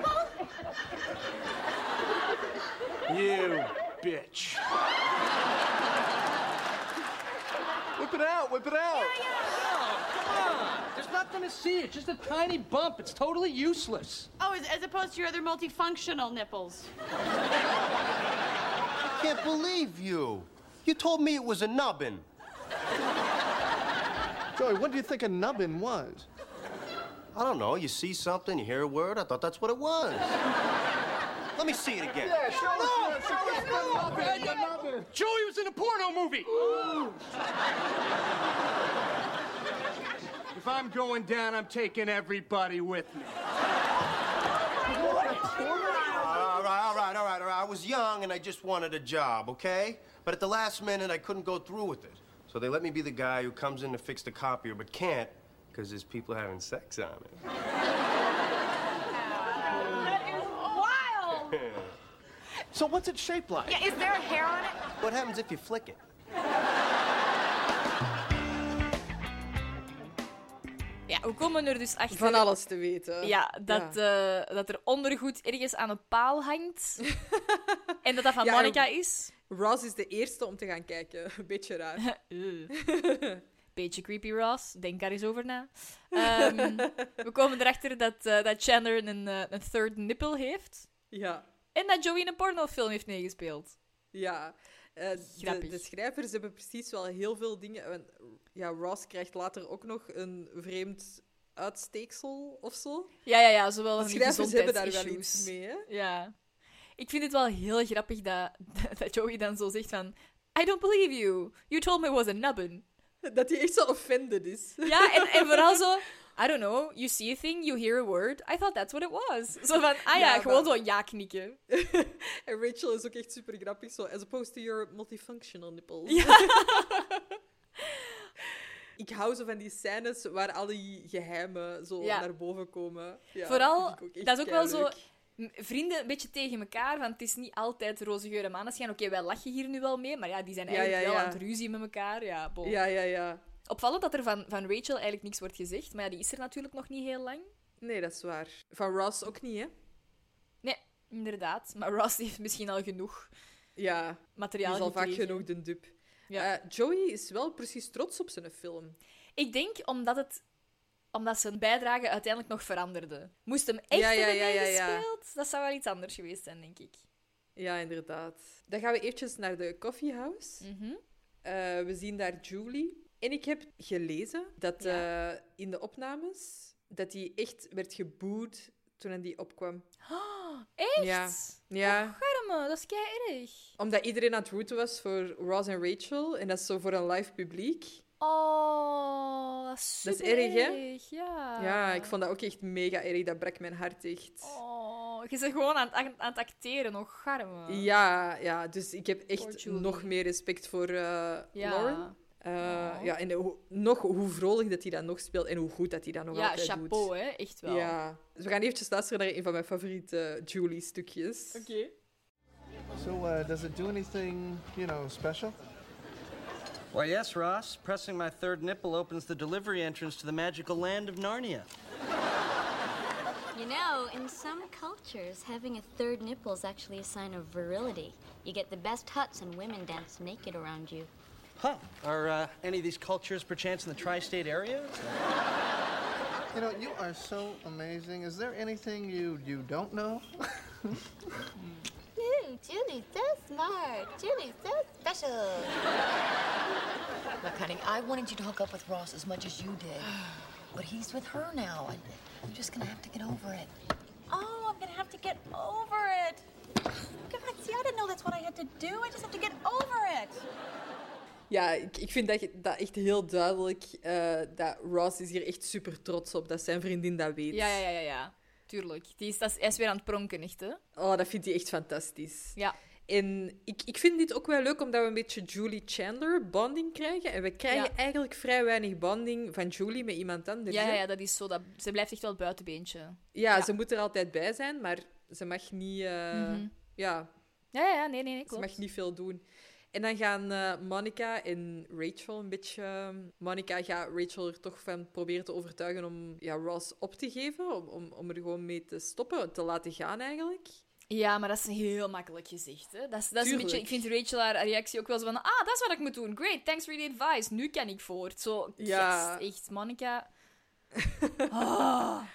S4: a third nipple?
S6: You bitch.
S5: Whip it out, whip it out.
S6: There's nothing to see. It's just a tiny bump. It's totally useless.
S7: Oh, as, as opposed to your other multifunctional nipples.
S8: Can't believe you. You told me it was a nubbin.
S5: Joey, what do you think a nubbin was?
S8: I don't know. You see something, you hear a word. I thought that's what it was. Let me see it again.
S5: Yeah, show us, show us the nubbin, the nubbin.
S6: Joey was in a porno movie. if I'm going down, I'm taking everybody with me.
S8: All right, all right, all right, all right. I was young and I just wanted a job, okay? But at the last minute, I couldn't go through with it. So they let me be the guy who comes in to fix the copier but can't because there's people having sex on it.
S4: Wild!
S5: So what's it shaped like?
S3: Yeah, is there a hair on it?
S8: What happens if you flick it?
S2: Ja, we komen er dus achter.
S1: Van alles te weten.
S2: Ja, dat, eh, dat er ondergoed ergens aan een paal hangt. en dat dat van
S1: Ja,
S2: Monica
S1: en-
S2: is.
S1: Ross is de eerste om te gaan kijken. Een beetje raar.
S2: Eh. Beetje creepy, Ross. Denk daar eens over na. Ehm, we komen erachter dat, eh, dat Chandler een, eh, een third nipple heeft.
S1: Ja.
S2: En dat Joey een pornofilm heeft meegespeeld.
S1: Ja. Eh, de,
S2: Grappig.
S1: de schrijvers hebben precies wel heel veel dingen. en, Ja, Ross krijgt later ook nog een vreemd uitsteeksel of zo.
S2: Ja, ja, ja. Zowel
S1: De
S2: van die
S1: schrijvers hebben daar wel iets
S2: gezondheidsissues.
S1: mee, hè?
S2: Ja. Ik vind het wel heel grappig dat, dat Joey dan zo zegt van... I don't believe you. You told me it was a nubbin.
S1: Dat hij echt zo offended is.
S2: Ja, en, en vooral zo... I don't know. You see a thing, you hear a word. I thought that's what it was. Zo van, ah ja,
S1: Ja,
S2: gewoon
S1: maar-
S2: zo ja knikken.
S1: en Rachel is ook echt super grappig. Zo, as opposed to your multifunctional nipples. ik hou zo van die scènes waar al die geheimen zo
S2: Ja.
S1: naar boven komen. Ja,
S2: Vooral,
S1: vind ik echt
S2: dat is ook wel zo...
S1: keileuk.
S2: m- Vrienden een beetje tegen elkaar, want het is niet altijd roze geur en maneschijn. Oké, wij lachen hier nu wel mee, maar ja, die zijn
S1: Ja,
S2: eigenlijk
S1: ja,
S2: wel
S1: ja.
S2: aan het ruzie met elkaar. Ja, bon.
S1: Ja, ja, ja.
S2: Opvallend dat er van, van Rachel eigenlijk niks wordt gezegd, maar ja, die is er natuurlijk nog niet heel lang.
S1: Nee, dat is waar. Van Ross ook niet, hè?
S2: Nee, inderdaad. Maar Ross heeft misschien al genoeg
S1: Ja, die
S2: materiaal
S1: is al vaak
S2: gekregen.
S1: genoeg de dup.
S2: Ja.
S1: Eh, Joey is wel precies trots op zijn film.
S2: Ik denk omdat, het, omdat zijn bijdrage uiteindelijk nog veranderde. Moest hem echt
S1: Ja, ja,
S2: hebben
S1: ja, ja, ja.
S2: meegespeeld, dat zou wel iets anders geweest zijn, denk ik.
S1: Ja, inderdaad. Dan gaan we eventjes naar de coffeehouse.
S2: Mhm.
S1: Eh, we zien daar Julie. En ik heb gelezen dat eh, in de opnames dat hij echt werd geboed toen hij die opkwam.
S2: Oh, Echt? Oh,
S1: Ja. Ja,
S2: Garme, dat is kei erg.
S1: omdat iedereen aan het roeten was voor Ross en Rachel. En dat is zo voor een live publiek.
S2: Oh, dat is
S1: Dat is
S2: supererg,
S1: erg, hè?
S2: Ja.
S1: Ja, ik vond dat ook echt mega erg. Dat brak mijn hart echt.
S2: Ah. Oh, je bent gewoon aan het, aan het acteren, nog garme.
S1: Ja, ja, dus ik heb
S2: Ah. Poor
S1: echt
S2: Julie.
S1: nog meer respect voor eh,
S2: Ja.
S1: Lauren. Eh, Ja, en hoe- nog hoe vrolijk dat hij dat nog speelt en hoe goed dat hij dat nog
S2: Ja,
S1: altijd
S2: chapeau,
S1: doet.
S2: hè? Echt wel.
S1: Ja. Dus we gaan eventjes luisteren naar een van mijn favoriete eh, Julie-stukjes.
S5: So uh, does it do anything, you know, special?
S9: Why, yes, Ross. Pressing my third nipple opens the delivery entrance to the magical land of Narnia.
S10: You know, in some cultures, having a third nipple is actually a sign of virility. You get the best huts and women dance naked around you.
S9: Huh. Are uh, any of these cultures perchance in the tri state area?
S5: You know, you are so amazing. Is there anything you you don't know?
S10: Ooh, Julie's Hmm, so smart. Julie's so special.
S11: Look, honey, I wanted you to hook up with Ross as much as you did. But he's with her now, and you're just gonna have to get over it.
S10: Oh, I'm gonna have to get over it. God, see, I didn't know that's what I had to do. I just have to get over it.
S1: Ja, ik, ik vind dat, je- dat echt heel duidelijk. eh, dat Ross is hier echt super trots op dat zijn vriendin dat weet.
S2: Ja, ja, ja, ja. ja. Tuurlijk. Die is, dat is, hij is weer aan het pronken, echt, hè?
S1: Oh, dat vindt hij echt fantastisch.
S2: Ja.
S1: En ik, ik vind dit ook wel leuk omdat we een beetje Julie Chandler bonding krijgen. En we krijgen
S2: Ja.
S1: eigenlijk vrij weinig bonding van Julie met iemand anders.
S2: Ja,
S1: hè.
S2: ja, ja, dat is zo. Dat, ze blijft echt wel het buitenbeentje.
S1: Ja, ze moet er altijd bij zijn, maar ze mag niet... eh,
S2: Mhm.
S1: Ja,
S2: Ja, ja, ja, nee, nee, nee,
S1: ze
S2: klopt.
S1: mag niet veel doen. En dan gaan eh Monica en Rachel een beetje... Monica gaat Rachel er toch van proberen te overtuigen om ja, Ross op te geven. Om, om, om er gewoon mee te stoppen, te laten gaan eigenlijk.
S2: Ja, maar dat is heel makkelijk gezegd. Hè? Dat is, dat is een
S1: Tuurlijk.
S2: beetje, ik vind Rachel haar reactie ook wel zo van... Ah, dat is wat ik moet doen. Great, thanks for the advice. Nu kan ik voort. Zo,
S1: Ja.
S2: yes, echt, Monica...
S1: Ja,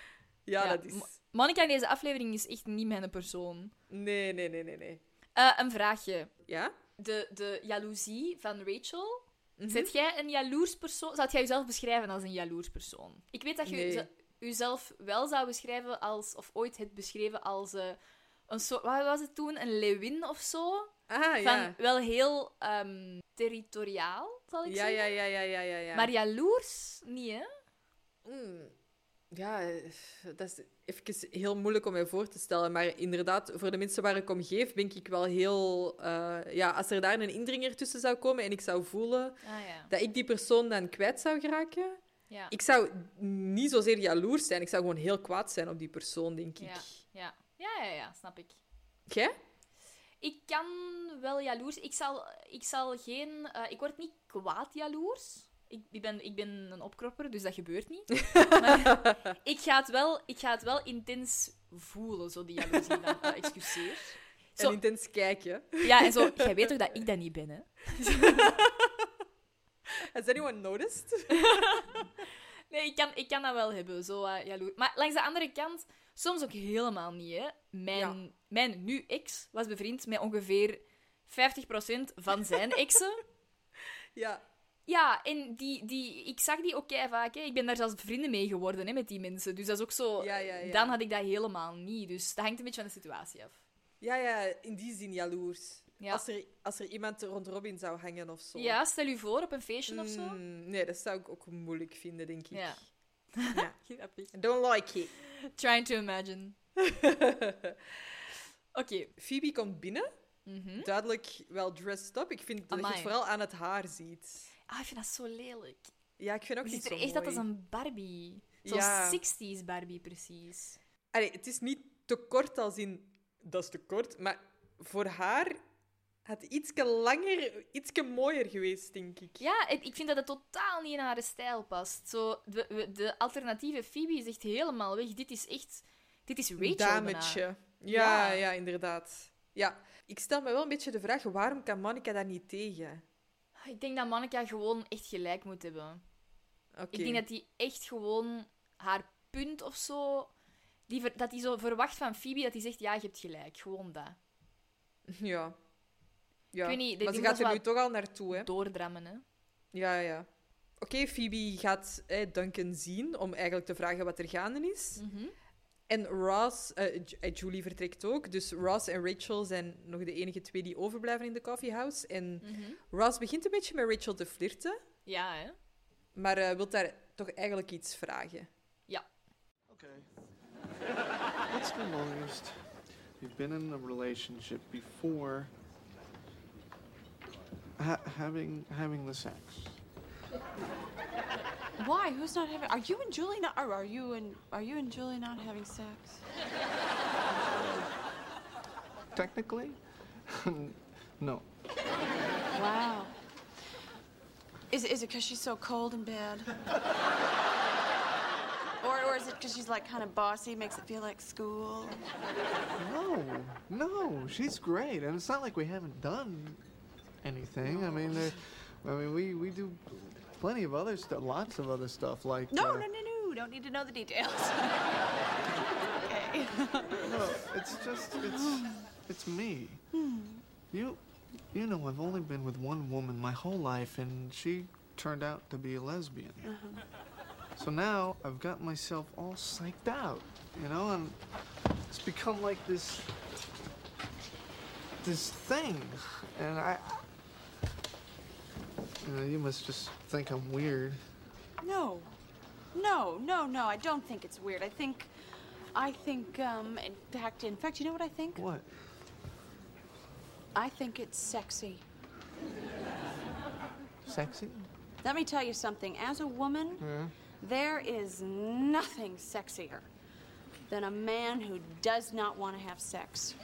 S2: Ja,
S1: dat is...
S2: Mo- Monica in deze aflevering is echt niet mijn persoon.
S1: Nee, nee, nee, nee, nee.
S2: Eh, een vraagje.
S1: Ja?
S2: De, de jaloezie van Rachel.
S1: Mhm.
S2: Zet jij een jaloers persoon? Zou jij jezelf beschrijven als een jaloers persoon? Ik weet dat je
S1: Nee.
S2: ze- jezelf wel zou beschrijven als... Of ooit hebt beschreven als... eh, een soort, wat was het toen? Een leeuwin of zo?
S1: Ah,
S2: van
S1: ja.
S2: wel heel ehm, territoriaal, zal ik
S1: Ja,
S2: zeggen.
S1: ja, ja, ja, ja, ja, ja.
S2: Maar jaloers niet, hè?
S1: Mm, Ja, eh, dat is even heel moeilijk om mij voor te stellen. Maar inderdaad, voor de mensen waar ik om geef, denk ik wel heel... eh, ja, als er daar een indringer tussen zou komen en ik zou voelen
S2: Ah ja.
S1: dat ik die persoon dan kwijt zou geraken...
S2: Ja.
S1: Ik zou niet zozeer jaloers zijn. Ik zou gewoon heel kwaad zijn op die persoon, denk ik.
S2: Ja, ja. ja, ja, ja, snap ik.
S1: Jij?
S2: Ik kan wel jaloers. Ik zal, ik zal geen. eh, ik word niet kwaad jaloers. Ik, ik, ben, ik ben een opkropper, dus dat gebeurt niet. maar ik ga het wel, ik ga het wel intens voelen, zo die jaloezie. Van, eh, excuseer. Zo,
S1: Een intens kijken.
S2: Ja, en zo. Jij weet toch dat ik dat niet ben, hè?
S1: Has anyone noticed?
S2: Nee, ik kan, ik kan dat wel hebben, zo eh, jaloers. Maar langs de andere kant, soms ook helemaal niet, hè. Mijn, mijn nu ex was bevriend met ongeveer 50% van zijn exen.
S1: Ja.
S2: Ja, en die, die, ik zag die ook kei vaak. Hè. Ik ben daar zelfs vrienden mee geworden hè, met die mensen. Dus dat is ook zo.
S1: Ja, ja, ja.
S2: Dan had ik dat helemaal niet. Dus dat hangt een beetje van de situatie af.
S1: Ja, ja, in die zin jaloers.
S2: Ja.
S1: Als, er, als er iemand rond Robin zou hangen of zo.
S2: Ja, stel u voor op een feestje of zo.
S1: Mm, nee, dat zou ik ook moeilijk vinden, denk ik.
S2: Ja.
S1: Ja.
S2: Grappig.
S1: I Don't like it.
S2: Trying to imagine. Oké.
S1: Phoebe komt binnen.
S2: Mhm.
S1: Duidelijk wel dressed up. Ik vind dat je
S2: Amai.
S1: het vooral aan het haar ziet.
S2: Ah, ik vind dat zo lelijk.
S1: Ja, ik vind ook
S2: Die
S1: niet
S2: ziet
S1: zo
S2: er echt uit als
S1: mooi.
S2: een Barbie. Zo'n
S1: Ja.
S2: 60s Barbie, precies.
S1: Allee, het is niet te kort als in... Dat is te kort, maar voor haar had ietske langer, ietske mooier geweest, denk ik.
S2: Ja, ik ik vind dat het totaal niet in haar stijl past. Zo, de, we- de alternatieve Phoebe is echt helemaal weg. Dit is echt... Dit is Rachel bijna.
S1: Dametje. Ja, ja,
S2: Ja.
S1: inderdaad. Ja. Ik stel me wel een beetje de vraag, waarom kan Monica daar niet tegen?
S2: Ah, Ik denk dat Monica gewoon echt gelijk moet hebben.
S1: Oké.
S2: Ik denk dat die echt gewoon haar punt of zo... Die ver- dat die zo verwacht van Phoebe dat die zegt, ja, je hebt gelijk. Gewoon dat.
S1: Ja. ja.
S2: Ik weet niet, dit
S1: maar ze
S2: moet
S1: gaat er
S2: wel
S1: nu toch al naartoe, hè?
S2: Doordrammen, hè.
S1: Ja, ja. Oké, Phoebe gaat eh, Duncan zien om eigenlijk te vragen wat er gaande is.
S2: Mhm.
S1: En Ross, eh, Ju- eh, Julie vertrekt ook, dus Ross en Rachel zijn nog de enige twee die overblijven in de coffeehouse. En
S2: Mhm.
S1: Ross begint een beetje met Rachel te flirten,
S2: Ja, hè.
S1: maar eh, wil daar toch eigenlijk iets vragen.
S5: What's the longest you've been in a relationship before ha- having having the sex?
S7: Why? Who's not having? Are you and Julie not? Or are you and are you and Julie not having sex?
S5: Technically, no.
S7: Wow. Is is it because she's so cold in bed? Or, or is it because she's like kind of bossy, makes it feel like school?
S5: No, no, she's great, and it's not like we haven't done anything. I mean, there, I mean, we we do plenty of other stuff, lots of other stuff like.
S7: No,
S5: uh,
S7: no, no, no. Don't need to know the details. okay.
S5: No, it's just it's it's me. You you know I've only been with one woman my whole life and she turned out to be a lesbian. So now I've got myself all psyched out, you know, and it's become like this this thing. And I you know, you must just think I'm weird.
S7: No, no, no, no. I don't think it's weird. I think, I think, um, in fact, in fact, you know what I think?
S5: What?
S7: I think it's sexy.
S5: Sexy?
S7: Let me tell you something. As a woman,
S5: Yeah.
S7: there is nothing sexier than a man who does not want to have sex.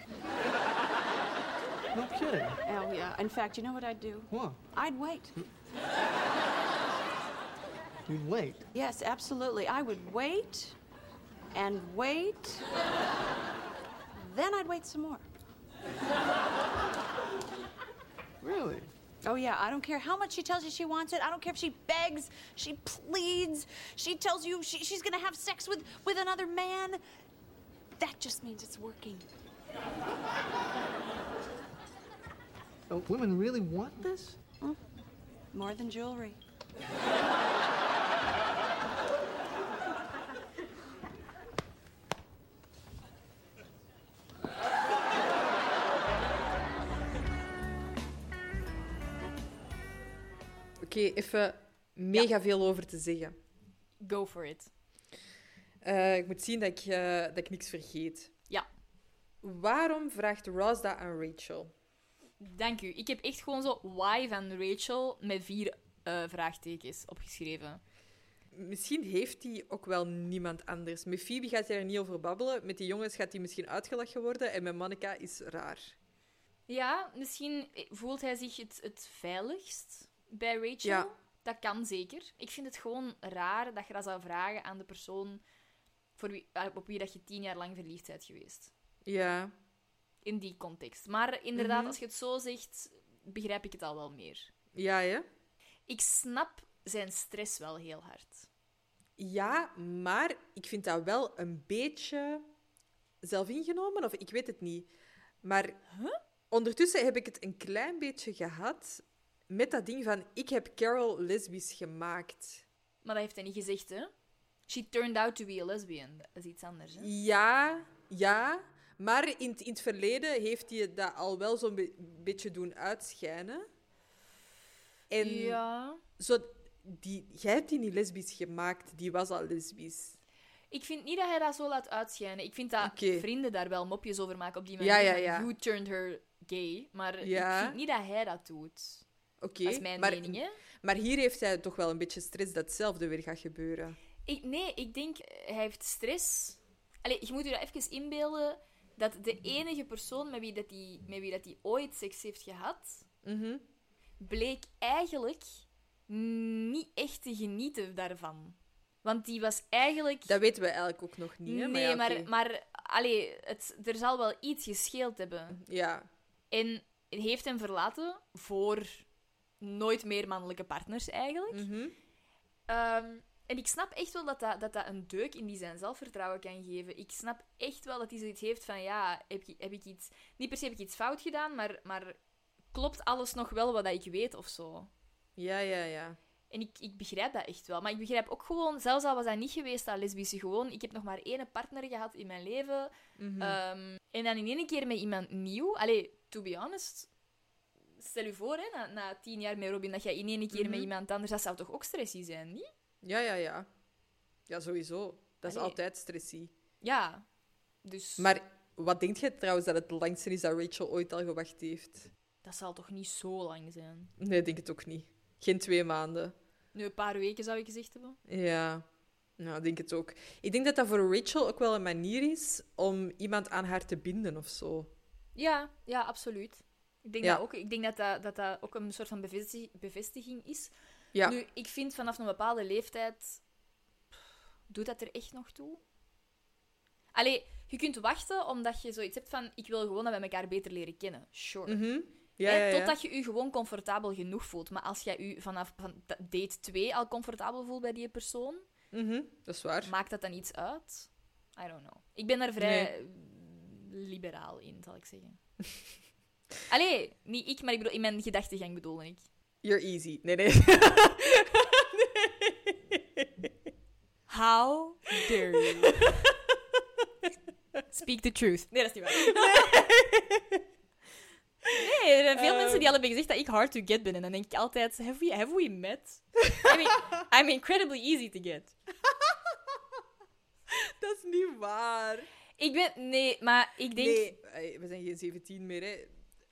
S5: No kidding.
S7: Oh, yeah. In fact, you know what I'd do?
S5: What?
S7: I'd wait.
S5: You wait.
S7: Yes, absolutely. I would wait and wait. then I'd wait some more.
S5: Really?
S7: Oh, yeah, I don't care how much she tells you she wants it. I don't care if she begs, she pleads, she tells you she, she's gonna have sex with, with another man. That just means it's working.
S5: Uh, women really want this?
S7: More than jewelry.
S1: Oké, even mega veel over te zeggen.
S2: Go for it.
S1: Eh, ik moet zien dat ik, eh, dat ik niks vergeet.
S2: Ja.
S1: Waarom vraagt Ross dat aan Rachel?
S2: Dank u. Ik heb echt gewoon zo why van Rachel met vier eh, vraagtekens opgeschreven.
S1: Misschien heeft hij ook wel niemand anders. Met Phoebe gaat hij er niet over babbelen. Met die jongens gaat hij misschien uitgelachen worden. En met Monica is raar.
S2: Ja, misschien voelt hij zich het, het veiligst bij Rachel.
S1: Ja.
S2: Dat kan zeker. Ik vind het gewoon raar dat je dat zou vragen aan de persoon voor wie, eh, op wie dat je tien jaar lang verliefd bent geweest.
S1: Ja.
S2: In die context. Maar inderdaad,
S1: Mhm.
S2: als je het zo zegt, begrijp ik het al wel meer.
S1: Ja, hè?
S2: Ik snap zijn stress wel heel hard.
S1: Ja, maar ik vind dat wel een beetje zelfingenomen, of ik weet het niet. Maar ondertussen heb ik het een klein beetje gehad met dat ding van ik heb Carol lesbisch gemaakt.
S2: Maar dat heeft hij niet gezegd, hè? She turned out to be a lesbian. Dat is iets anders, hè?
S1: Ja, ja. Maar in, het- in het verleden heeft hij dat al wel zo'n be- beetje doen uitschijnen. En
S2: Ja.
S1: zo, die, jij hebt die niet lesbisch gemaakt, die was al lesbisch.
S2: Ik vind niet dat hij dat zo laat uitschijnen. Ik vind dat
S1: Oké.
S2: vrienden daar wel mopjes over maken op die
S1: Ja,
S2: manier.
S1: ja,
S2: van,
S1: ja.
S2: Who turned her gay? Maar
S1: Ja.
S2: ik vind niet dat hij dat doet.
S1: Oké,
S2: Dat is mijn
S1: maar,
S2: mening, hè?
S1: Maar hier heeft hij toch wel een beetje stress dat hetzelfde weer gaat gebeuren.
S2: Ik, nee, ik denk, eh, hij heeft stress. Allee, je moet je dat even inbeelden dat de enige persoon met wie dat die, met wie dat die ooit seks heeft gehad,
S1: Mhm.
S2: bleek eigenlijk niet echt te genieten daarvan. Want die was eigenlijk...
S1: Dat weten we eigenlijk ook nog niet. Hè?
S2: nee,
S1: ja,
S2: maar,
S1: oké.
S2: maar allee, het, er zal wel iets gescheeld hebben.
S1: Ja,
S2: En heeft hem verlaten voor nooit meer mannelijke partners, eigenlijk.
S1: Mm. Mhm.
S2: Ehm, en ik snap echt wel dat dat, dat dat een deuk in die zijn zelfvertrouwen kan geven. Ik snap echt wel dat hij zoiets heeft van, ja, heb, ik- heb ik iets... Niet per se heb ik iets fout gedaan, maar, maar klopt alles nog wel wat dat ik weet of zo?
S1: ja, ja. ja.
S2: En ik, ik begrijp dat echt wel. Maar ik begrijp ook gewoon, zelfs al was dat niet geweest, dat lesbische gewoon, ik heb nog maar één partner gehad in mijn leven.
S1: Mhm.
S2: Ehm, en dan in één keer met iemand nieuw. Allee, to be honest, stel je voor, hè, na, na tien jaar met Robin, dat jij in één keer met
S1: Mhm.
S2: iemand anders, dat zou toch ook stressy zijn, niet?
S1: Ja, ja, ja. Ja, sowieso. Dat is
S2: Allee.
S1: altijd stressy.
S2: Ja. Dus
S1: Maar wat denkt jij trouwens dat het langste is dat Rachel ooit al gewacht heeft?
S2: dat zal toch niet zo lang zijn?
S1: Nee, ik denk het ook niet. Geen twee maanden.
S2: Nu, een paar weken zou ik gezegd hebben.
S1: Ja, nou, ik denk het ook. Ik denk dat dat voor Rachel ook wel een manier is om iemand aan haar te binden of zo.
S2: Ja, ja, absoluut. Ik denk
S1: Ja.
S2: dat ook. Ik denk dat dat, dat dat ook een soort van bevesti- bevestiging is.
S1: Ja.
S2: Nu, ik vind vanaf een bepaalde leeftijd... pff, Doet dat er echt nog toe? Allee, je kunt wachten omdat je zoiets hebt van... Ik wil gewoon dat we elkaar beter leren kennen. Sure.
S1: Mhm. Ja, ja,
S2: Hè,
S1: ja.
S2: Totdat je je gewoon comfortabel genoeg voelt. Maar als jij je vanaf van d- date 2 al comfortabel voelt bij die persoon...
S1: Mhm, Dat is waar.
S2: Maakt dat dan iets uit? I don't know. Ik ben daar vrij liberaal in, zal ik zeggen. Allee, niet ik, maar ik bedoel, in mijn gedachtegang bedoelde ik.
S1: You're easy. Nee, nee.
S2: How dare you? Speak the truth. Nee, dat is niet waar. Nee, er zijn veel mensen die al hebben gezegd dat ik hard to get ben. En dan denk ik altijd, have we, have we met? I mean, I'm incredibly easy to get.
S1: dat is niet waar.
S2: Ik ben... Nee, maar ik denk...
S1: Nee, eh, we zijn geen 17 meer, hè.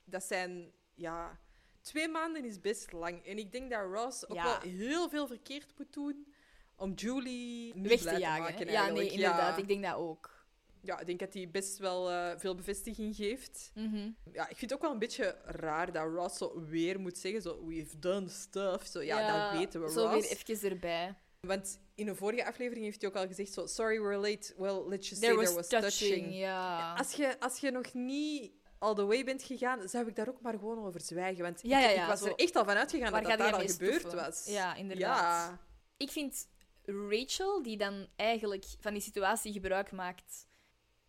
S1: dat zijn... Ja, twee maanden is best lang. En ik denk dat Ross ook
S2: Ja.
S1: wel heel veel verkeerd moet doen om Julie niet
S2: Weg te
S1: blij
S2: jagen,
S1: maken.
S2: hè? Ja, nee,
S1: eigenlijk.
S2: inderdaad. Ik denk dat ook.
S1: Ja, ik denk dat hij best wel eh, veel bevestiging geeft.
S2: Mhm.
S1: Ja, ik vind het ook wel een beetje raar dat Ross zo weer moet zeggen, zo, we've done stuff. Zo, ja, dat weten we,
S2: Zo
S1: Ross.
S2: weer even erbij.
S1: Want in een vorige aflevering heeft hij ook al gezegd zo, sorry, we're late. Well, let's just
S2: There
S1: say
S2: was
S1: there was
S2: touching,
S1: touching.
S2: ja.
S1: Als, je, als je nog niet all the way bent gegaan, zou ik daar ook maar gewoon over zwijgen. Want
S2: Ja,
S1: ik,
S2: ja,
S1: ik
S2: ja,
S1: was
S2: zo.
S1: er echt al van uitgegaan
S2: Waar
S1: dat
S2: gaat
S1: dat
S2: hij
S1: daar al
S2: mee
S1: gebeurd
S2: stoffen?
S1: was.
S2: Ja, inderdaad. Ik vind Rachel, die dan eigenlijk van die situatie gebruik maakt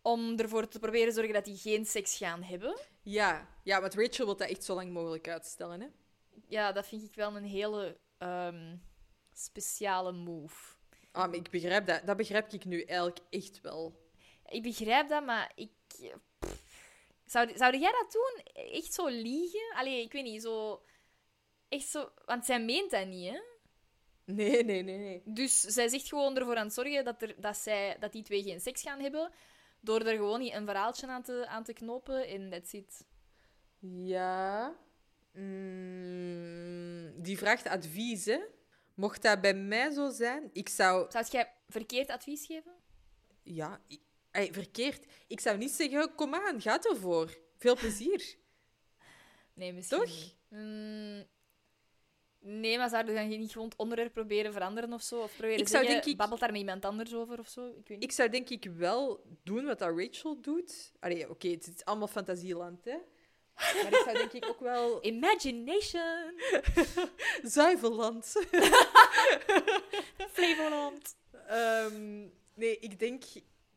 S2: om ervoor te proberen zorgen dat die geen seks gaan hebben.
S1: Ja, ja, want Rachel wil dat echt zo lang mogelijk uitstellen. Hè?
S2: Ja, dat vind ik wel een hele ehm, speciale move.
S1: Ah, maar ik begrijp dat. Dat begrijp ik nu eigenlijk echt wel.
S2: Ik begrijp dat, maar ik... pff. Zou, zou jij dat doen? Echt zo liegen? Allee, ik weet niet, zo... Echt zo... Want zij meent dat niet, hè?
S1: Nee, nee, nee, nee.
S2: Dus zij zegt gewoon ervoor aan het zorgen dat, er, dat, zij, dat die twee geen seks gaan hebben. Door er gewoon niet een verhaaltje aan te, aan te knopen en that's it.
S1: Ja. Mm, die vraagt advies, hè. Mocht dat bij mij zo zijn, ik zou...
S2: Zou jij verkeerd advies geven?
S1: Ja, ik- ey, verkeerd. Ik zou niet zeggen, "Oh, kom aan, ga ervoor. Veel plezier.
S2: Nee, misschien
S1: Toch?
S2: niet. Mm, nee, maar zou je dan niet gewoon het onderwerp proberen veranderen of zo? Of proberen
S1: Ik
S2: ik
S1: zou
S2: zeggen,
S1: denk ik-
S2: babbelt daar met iemand anders over of zo? Ik weet niet.
S1: Ik zou denk ik wel doen wat dat Rachel doet. Allee, oké, het is allemaal fantasieland, hè. Maar ik zou denk ik ook wel...
S2: Imagination!
S1: Zuivelland.
S2: Flevoland.
S1: Ehm, nee, ik denk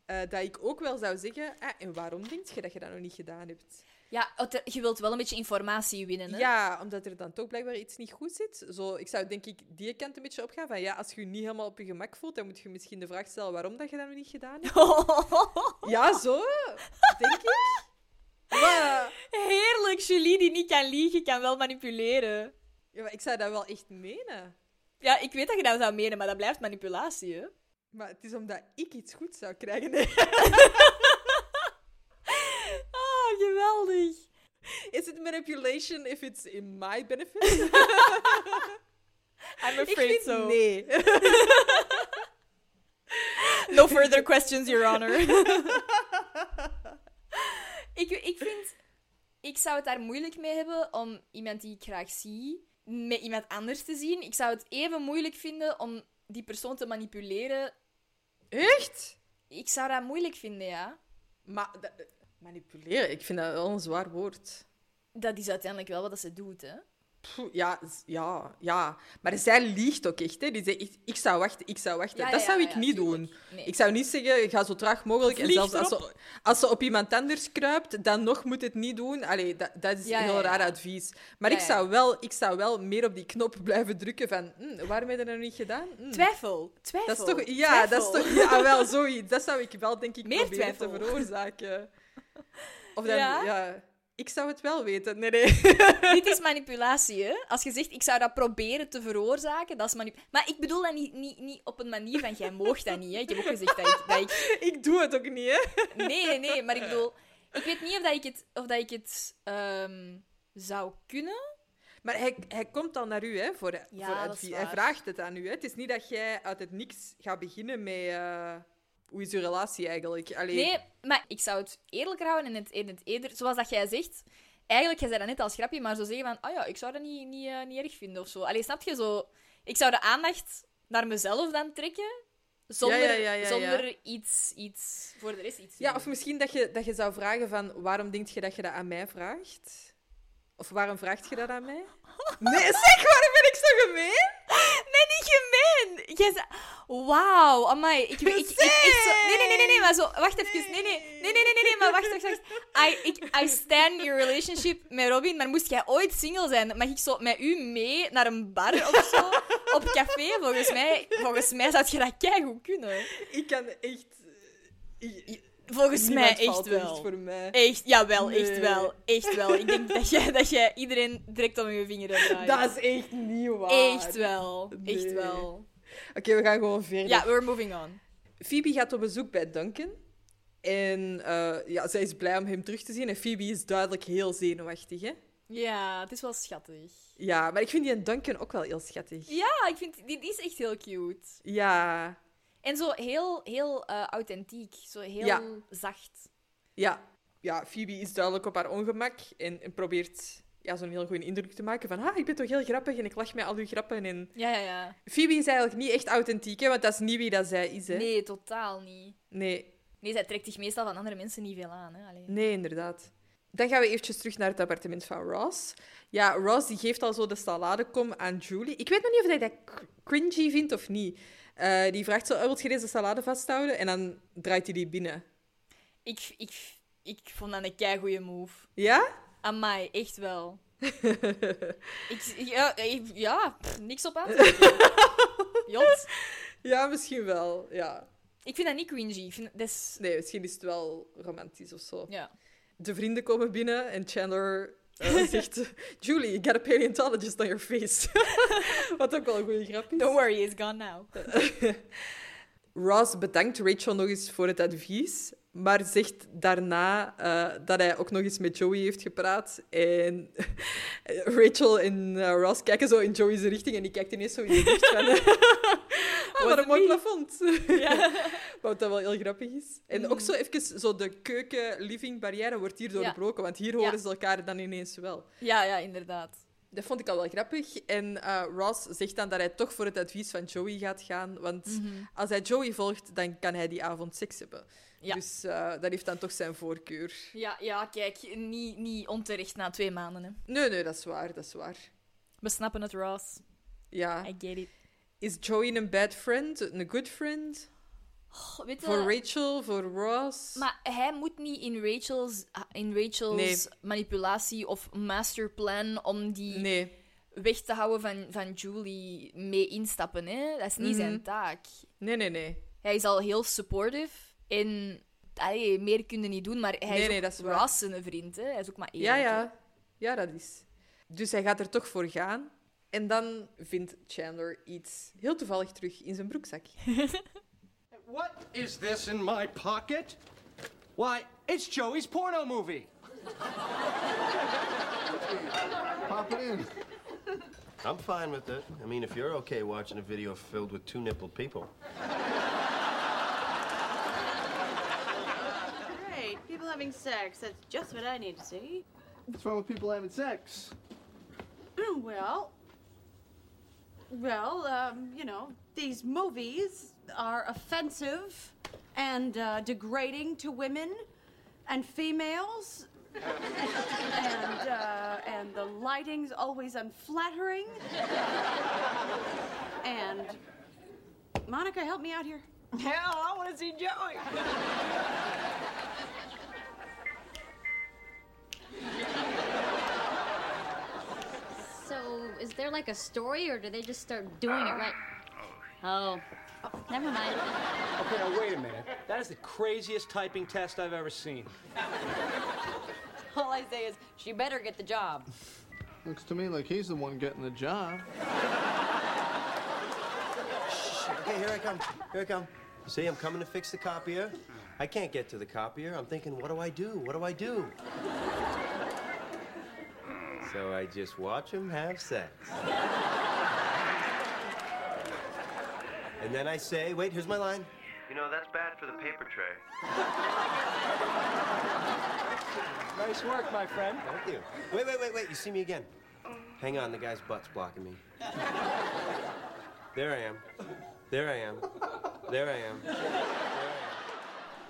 S1: eh, dat ik ook wel zou zeggen... Ah, en waarom denk je dat je dat nog niet gedaan hebt?
S2: Ja, oh, te- je wilt wel een beetje informatie winnen, hè?
S1: Ja, omdat er dan toch blijkbaar iets niet goed zit. Zo, ik zou denk ik die kant een beetje opgaan van... Ja, als je je niet helemaal op je gemak voelt, dan moet je misschien de vraag stellen waarom dat je dat nog niet gedaan hebt. ja, zo. Denk ik. Maar,
S2: Heerlijk, Julie die niet kan liegen, kan wel manipuleren.
S1: ja, maar ik zou dat wel echt menen.
S2: Ja, ik weet dat je dat zou menen, maar dat blijft manipulatie, hè?
S1: Maar het is omdat ik iets goed zou krijgen. Nee.
S2: Ah, geweldig.
S1: Is it manipulation if it's in my benefit?
S2: I'm
S1: ik vind
S2: afraid so.
S1: nee.
S2: No further questions, Your Honor. ik, ik vind... Ik zou het daar moeilijk mee hebben om iemand die ik graag zie, met iemand anders te zien. Ik zou het even moeilijk vinden om die persoon te manipuleren.
S1: Echt?
S2: Ik zou dat moeilijk vinden, ja.
S1: Maar dat- manipuleren, ik vind dat wel een zwaar woord.
S2: Dat is uiteindelijk wel wat ze doet, hè.
S1: Pff, Ja, z- ja, ja. Maar zij liegt ook echt. Hè. Die zegt, echt, ik zou wachten, ik zou wachten.
S2: Ja,
S1: dat
S2: ja,
S1: zou
S2: ja,
S1: ik
S2: ja,
S1: niet
S2: tuurlijk.
S1: doen.
S2: Nee.
S1: Ik zou niet zeggen, ga zo traag mogelijk. En
S2: Vlieg
S1: zelfs als ze,
S2: erop.
S1: als ze op iemand anders kruipt, dan nog moet het niet doen. Allee, dat, dat is
S2: Ja,
S1: heel
S2: ja, ja.
S1: raar advies. Maar
S2: Ja,
S1: ik,
S2: ja.
S1: zou wel, ik zou wel meer op die knop blijven drukken van... Hm, waarom heb je dat nog niet gedaan? Hm.
S2: Twijfel. Twijfel.
S1: Dat is toch... Ja, dat is toch... Ja, wel, zoiets. Dat zou ik wel, denk ik,
S2: Meer
S1: proberen
S2: twijfel.
S1: te veroorzaken. Of dan...
S2: Ja?
S1: Ja? Ik zou het wel weten. Nee, nee.
S2: Dit is manipulatie, hè? Als je zegt, ik zou dat proberen te veroorzaken, dat is manipulatie. Maar ik bedoel dat niet, niet, niet op een manier van, jij moogt dat niet, hè? Ik heb ook gezegd dat ik... Dat ik...
S1: Ik doe het ook niet, hè.
S2: Nee, nee, nee, maar ik bedoel... Ik weet niet of dat ik het, of dat ik het ehm, zou kunnen.
S1: Maar hij, hij komt al naar u, hè, voor, voor
S2: dat is
S1: advies. Hij
S2: waar.
S1: vraagt het aan u, hè. Het is niet dat jij uit het niks gaat beginnen met... eh, hoe is uw relatie eigenlijk? Allee,
S2: Nee, maar ik zou het eerlijker houden en het, en het eerder... Zoals dat jij zegt... Eigenlijk, jij zei dat net als grapje, maar zo zeggen van... Ah ja, ik zou dat niet, niet, eh, niet erg vinden of zo. Allee, snap je zo... Ik zou de aandacht naar mezelf dan trekken... Zonder,
S1: Ja, ja, ja, ja, ja.
S2: zonder iets, iets... Voor de rest iets te
S1: Ja,
S2: doen.
S1: of misschien dat je, dat je zou vragen van... Waarom denk je dat je dat aan mij vraagt? Of waarom vraagt je dat aan mij? Nee, zeg, waarom ben ik zo gemeen?
S2: Nee, niet gemeen. Jij zei... Wauw, amai. Ik, ik, ik, ik, echt zo... Nee, nee, nee, nee, nee, maar zo... Wacht even. Nee, nee, nee, nee, nee, nee, nee maar wacht, wacht, wacht. I, ik, I stand your relationship met Robin, maar moest jij ooit single zijn, mag ik zo met u mee naar een bar of zo? Op café, volgens mij. Volgens mij zou je dat keigoed kunnen.
S1: Ik kan echt... ik-
S2: Volgens
S1: Niemand
S2: mij echt
S1: valt
S2: wel.
S1: echt voor mij.
S2: Echt, jawel, echt
S1: Nee.
S2: wel. Echt wel. Ik denk dat jij, dat jij iedereen direct om je vinger hebt draaien.
S1: Dat is echt niet waar.
S2: Echt wel. Echt
S1: Nee.
S2: wel.
S1: Oké, we gaan gewoon verder.
S2: Ja, we're moving on.
S1: Phoebe gaat op bezoek bij Duncan. En eh, ja, zij is blij om hem terug te zien. En Phoebe is duidelijk heel zenuwachtig, hè?
S2: Ja, het is wel schattig.
S1: Ja, maar ik vind die en Duncan ook wel heel schattig.
S2: Ja, ik vind die, die is echt heel cute.
S1: Ja,
S2: En zo heel, heel eh, authentiek. Zo heel
S1: Ja.
S2: zacht.
S1: ja. ja Phoebe is duidelijk op haar ongemak en, en probeert ja, zo'n heel goede indruk te maken van ah, ik ben toch heel grappig en ik lach met al uw grappen. En...
S2: Ja, ja, ja.
S1: Phoebe is eigenlijk niet echt authentiek, hè, want dat is niet wie dat zij is. Hè?
S2: Nee, totaal niet.
S1: Nee.
S2: Nee, zij trekt zich meestal van andere mensen niet veel aan. Hè? Allee.
S1: Nee, inderdaad. Dan gaan we eventjes terug naar het appartement van Ross. Ja, Ross die geeft al zo de saladekom aan Julie. Ik weet nog niet of hij dat cr- cringy vindt of niet. Eh, die vraagt zo, "Oh, wil je deze salade vasthouden? En dan draait hij die binnen.
S2: Ik, ik, ik vond dat een keigoeie move.
S1: Ja?
S2: Amai, echt wel. ik, ja, ik- ja pff, niks op aan. te merken. Jot.
S1: Ja, misschien wel. Ja.
S2: Ik vind dat niet cringy. Ik vind, dat is...
S1: Nee, misschien is het wel romantisch of zo.
S2: Ja.
S1: De vrienden komen binnen en Chandler eh, zegt... Julie, you got a paleontologist on your face. Wat ook wel een goede grap is.
S2: Don't worry, it's gone now.
S1: Ross bedankt Rachel nog eens voor het advies, maar zegt daarna eh, dat hij ook nog eens met Joey heeft gepraat. En Rachel en eh, Ross kijken zo in Joey's richting en die kijkt ineens zo in de lucht van... ah, wat een mooi plafond. Wat dat wel heel grappig is. En ook zo even zo de keuken-living-barrière wordt hier
S2: Mm. Ja.
S1: doorbroken, want hier horen ze elkaar dan ineens wel.
S2: Ja, ja, inderdaad.
S1: Dat vond ik al wel grappig. En eh, Ross zegt dan dat hij toch voor het advies van Joey gaat gaan. Want
S2: Mhm.
S1: als hij Joey volgt, dan kan hij die avond seks hebben.
S2: Ja.
S1: Dus eh, dat heeft dan toch zijn voorkeur.
S2: Ja, ja kijk, niet, niet onterecht na twee maanden. Hè.
S1: Nee, nee, dat is waar, dat is waar.
S2: We snappen het, Ross.
S1: Ja.
S2: I get it.
S1: Is Joey een bad friend? Een good friend?
S2: Goh, weet je-
S1: Voor Rachel, voor Ross?
S2: Maar hij moet niet in Rachel's, ah, in Rachel's
S1: Nee.
S2: manipulatie of masterplan om die
S1: Nee.
S2: weg te houden van, van Julie mee instappen. Hè? Dat is niet zijn
S1: Mhm.
S2: taak.
S1: Nee, nee, nee.
S2: Hij is al heel supportive en allee, meer kun je niet doen, maar hij
S1: Nee,
S2: is
S1: nee,
S2: ook
S1: dat is waar.
S2: Ross zijn vriend. Hè? Hij is ook maar eerlijk.
S1: Ja,
S2: hè.
S1: ja. Ja, dat is. Dus hij gaat er toch voor gaan. En dan vindt Chandler iets heel toevallig terug in zijn broekzak.
S9: What is this in my pocket? Why, it's Joey's porno movie.
S8: Pop it in. I'm fine with it. I mean, if you're okay watching a video filled with two nippled people.
S12: Great. People having sex. That's just what I need to see.
S5: What's wrong with people having sex?
S12: well, well, um, you know, these movies are offensive and uh, degrading to women and females. and uh, and the lighting's always unflattering. and Monica, help me out here. Hell, I want to see Joey.
S10: So, is there like a story, or do they just start doing it right? Oh, never mind.
S6: Okay, now wait a minute. That is the craziest typing test I've ever seen.
S12: All I say is, she better get the job.
S5: Looks to me like he's the one getting the job.
S8: Okay, here I come. Here I come. See, I'm coming to fix the copier. I can't get to the copier. I'm thinking, what do I do? What do I do? So I just watch them have sex. and then I say, wait, here's my line. You know, that's bad for the paper tray.
S6: Nice work, my friend.
S8: Thank you. Wait, wait, wait, wait. You see me again. Hang on, the guy's butt's blocking me. There I am. There I am. There I am.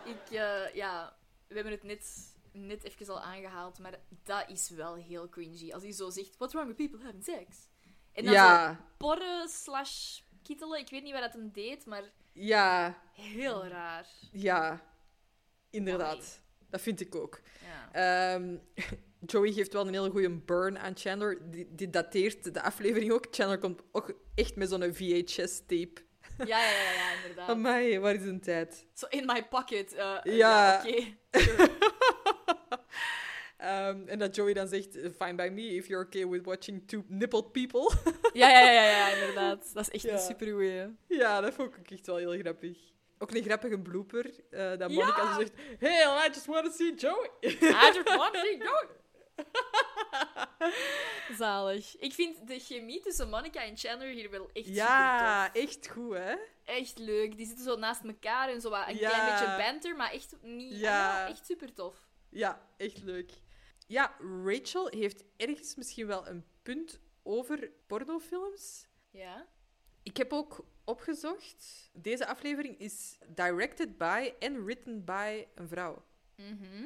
S2: Ik, eh, ja, we hebben het net, net even al aangehaald, maar dat is wel heel cringy. Als hij zo zegt, what's wrong with people having sex? En dan
S1: Ja.
S2: zo porren slash kittelen, ik weet niet wat dat hem deed, maar
S1: Ja. Mm.
S2: heel raar.
S1: Ja, inderdaad. Dat vind ik ook.
S2: Ja.
S1: Ehm, Joey geeft wel een hele goede burn aan Chandler. Die, die dateert de aflevering ook. Chandler komt ook echt met zo'n VHS-tape.
S2: Ja, ja, ja, ja, inderdaad.
S1: Amai, waar is een tijd?
S2: Zo in my pocket. eh, eh,
S1: Ja.
S2: Oké.
S1: Ehm, en dat Joey dan zegt, fine by me if you're okay with watching two nippled people.
S2: Ja, ja, ja, ja, ja, inderdaad. Dat is echt
S1: Ja.
S2: een supergoeie.
S1: ja, dat vond ik ook echt wel heel grappig. Oké, Ook een grappige blooper. eh, dat
S2: Ja!
S1: Monica zo zegt... Hey, I just want to see Joey.
S2: I just want to see Joey. Zalig. Ik vind de chemie tussen Monica en Chandler hier wel echt super
S1: ja, echt goed, hè?
S2: Echt leuk. Die zitten zo naast elkaar en zo wat een
S1: Ja.
S2: klein beetje banter, maar echt niet.
S1: Ja.
S2: Ah, echt super tof.
S1: Ja, echt leuk. Ja, Rachel heeft ergens misschien wel een punt over pornofilms.
S2: Ja.
S1: Ik heb ook opgezocht. Deze aflevering is directed by en written by een vrouw.
S2: Mhm.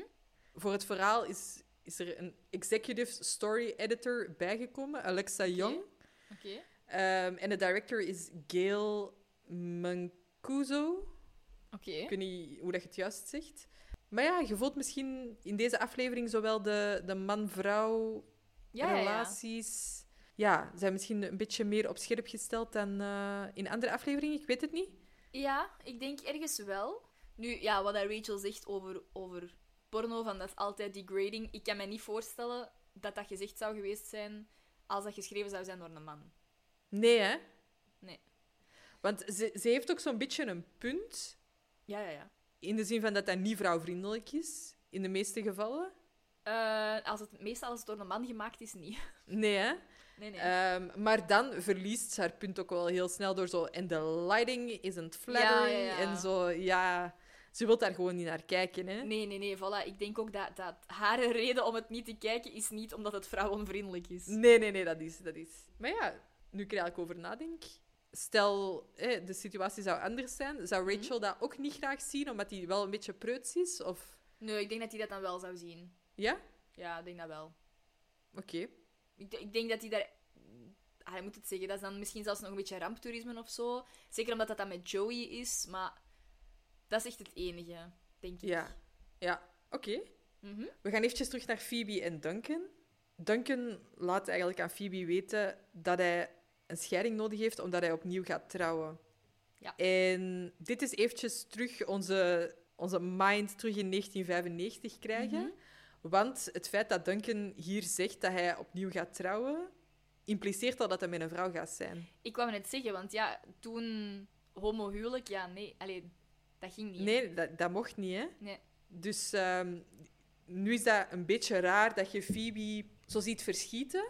S1: Voor het verhaal is, is er een executive story editor bijgekomen, Alexa Young.
S2: Oké.
S1: Ehm, en de director is Gail Mancuso.
S2: Oké.
S1: Ik weet niet hoe dat je het juist zegt. Maar ja, je voelt misschien in deze aflevering zowel de, de man-vrouw
S2: Ja, ja, ja.
S1: relaties. Ja, zijn misschien een beetje meer op scherp gesteld dan eh, in andere afleveringen. Ik weet het niet.
S2: Ja, ik denk ergens wel. Nu, ja, wat dat Rachel zegt over, over porno, van dat is altijd degrading. Ik kan me niet voorstellen dat dat gezegd zou geweest zijn als dat geschreven zou zijn door een man.
S1: Nee, hè?
S2: Nee.
S1: Want ze, ze heeft ook zo'n beetje een punt.
S2: Ja, ja, ja.
S1: In de zin van dat dat niet vrouwvriendelijk is. In de meeste gevallen.
S2: Eh, als het, meestal als het door een man gemaakt is, niet.
S1: Nee, hè?
S2: Nee, nee.
S1: Ehm, maar dan verliest ze haar punt ook wel heel snel door zo. En de lighting isn't flattering.
S2: Ja, ja, ja.
S1: En zo, ja. Ze wil daar gewoon niet naar kijken, hè?
S2: Nee, nee, nee, voilà. Ik denk ook dat, dat haar reden om het niet te kijken is niet omdat het vrouwonvriendelijk is.
S1: Nee, nee, nee, dat is, dat is. Maar ja, nu ik er eigenlijk over nadenk. Stel, hè, de situatie zou anders zijn.
S2: Mhm.
S1: Zou Rachel dat ook niet graag zien, omdat hij wel een beetje preuts is? Of
S2: Nee, ik denk dat hij dat dan wel zou zien.
S1: ja?
S2: Ja, ik denk dat wel.
S1: Oké.
S2: Ik, ik denk dat hij daar... Ah, hij moet het zeggen. Dat is dan misschien zelfs nog een beetje ramptoerisme of zo. Zeker omdat dat dan met Joey is, maar... Dat is echt het enige, denk ik.
S1: Ja. Ja, oké.
S2: Mhm.
S1: We gaan eventjes terug naar Phoebe en Duncan. Duncan laat eigenlijk aan Phoebe weten dat hij een scheiding nodig heeft omdat hij opnieuw gaat trouwen.
S2: Ja.
S1: En dit is eventjes terug onze, onze mind terug in 1995 krijgen.
S2: Mhm.
S1: Want het feit dat Duncan hier zegt dat hij opnieuw gaat trouwen, impliceert al dat hij met een vrouw gaat zijn.
S2: Ik kwam net zeggen, want ja, toen... Homohuwelijk, ja, nee. Allee, dat ging niet.
S1: Nee, dat, dat mocht niet, hè?
S2: Nee.
S1: Dus ehm, nu is dat een beetje raar dat je Phoebe zo ziet verschieten.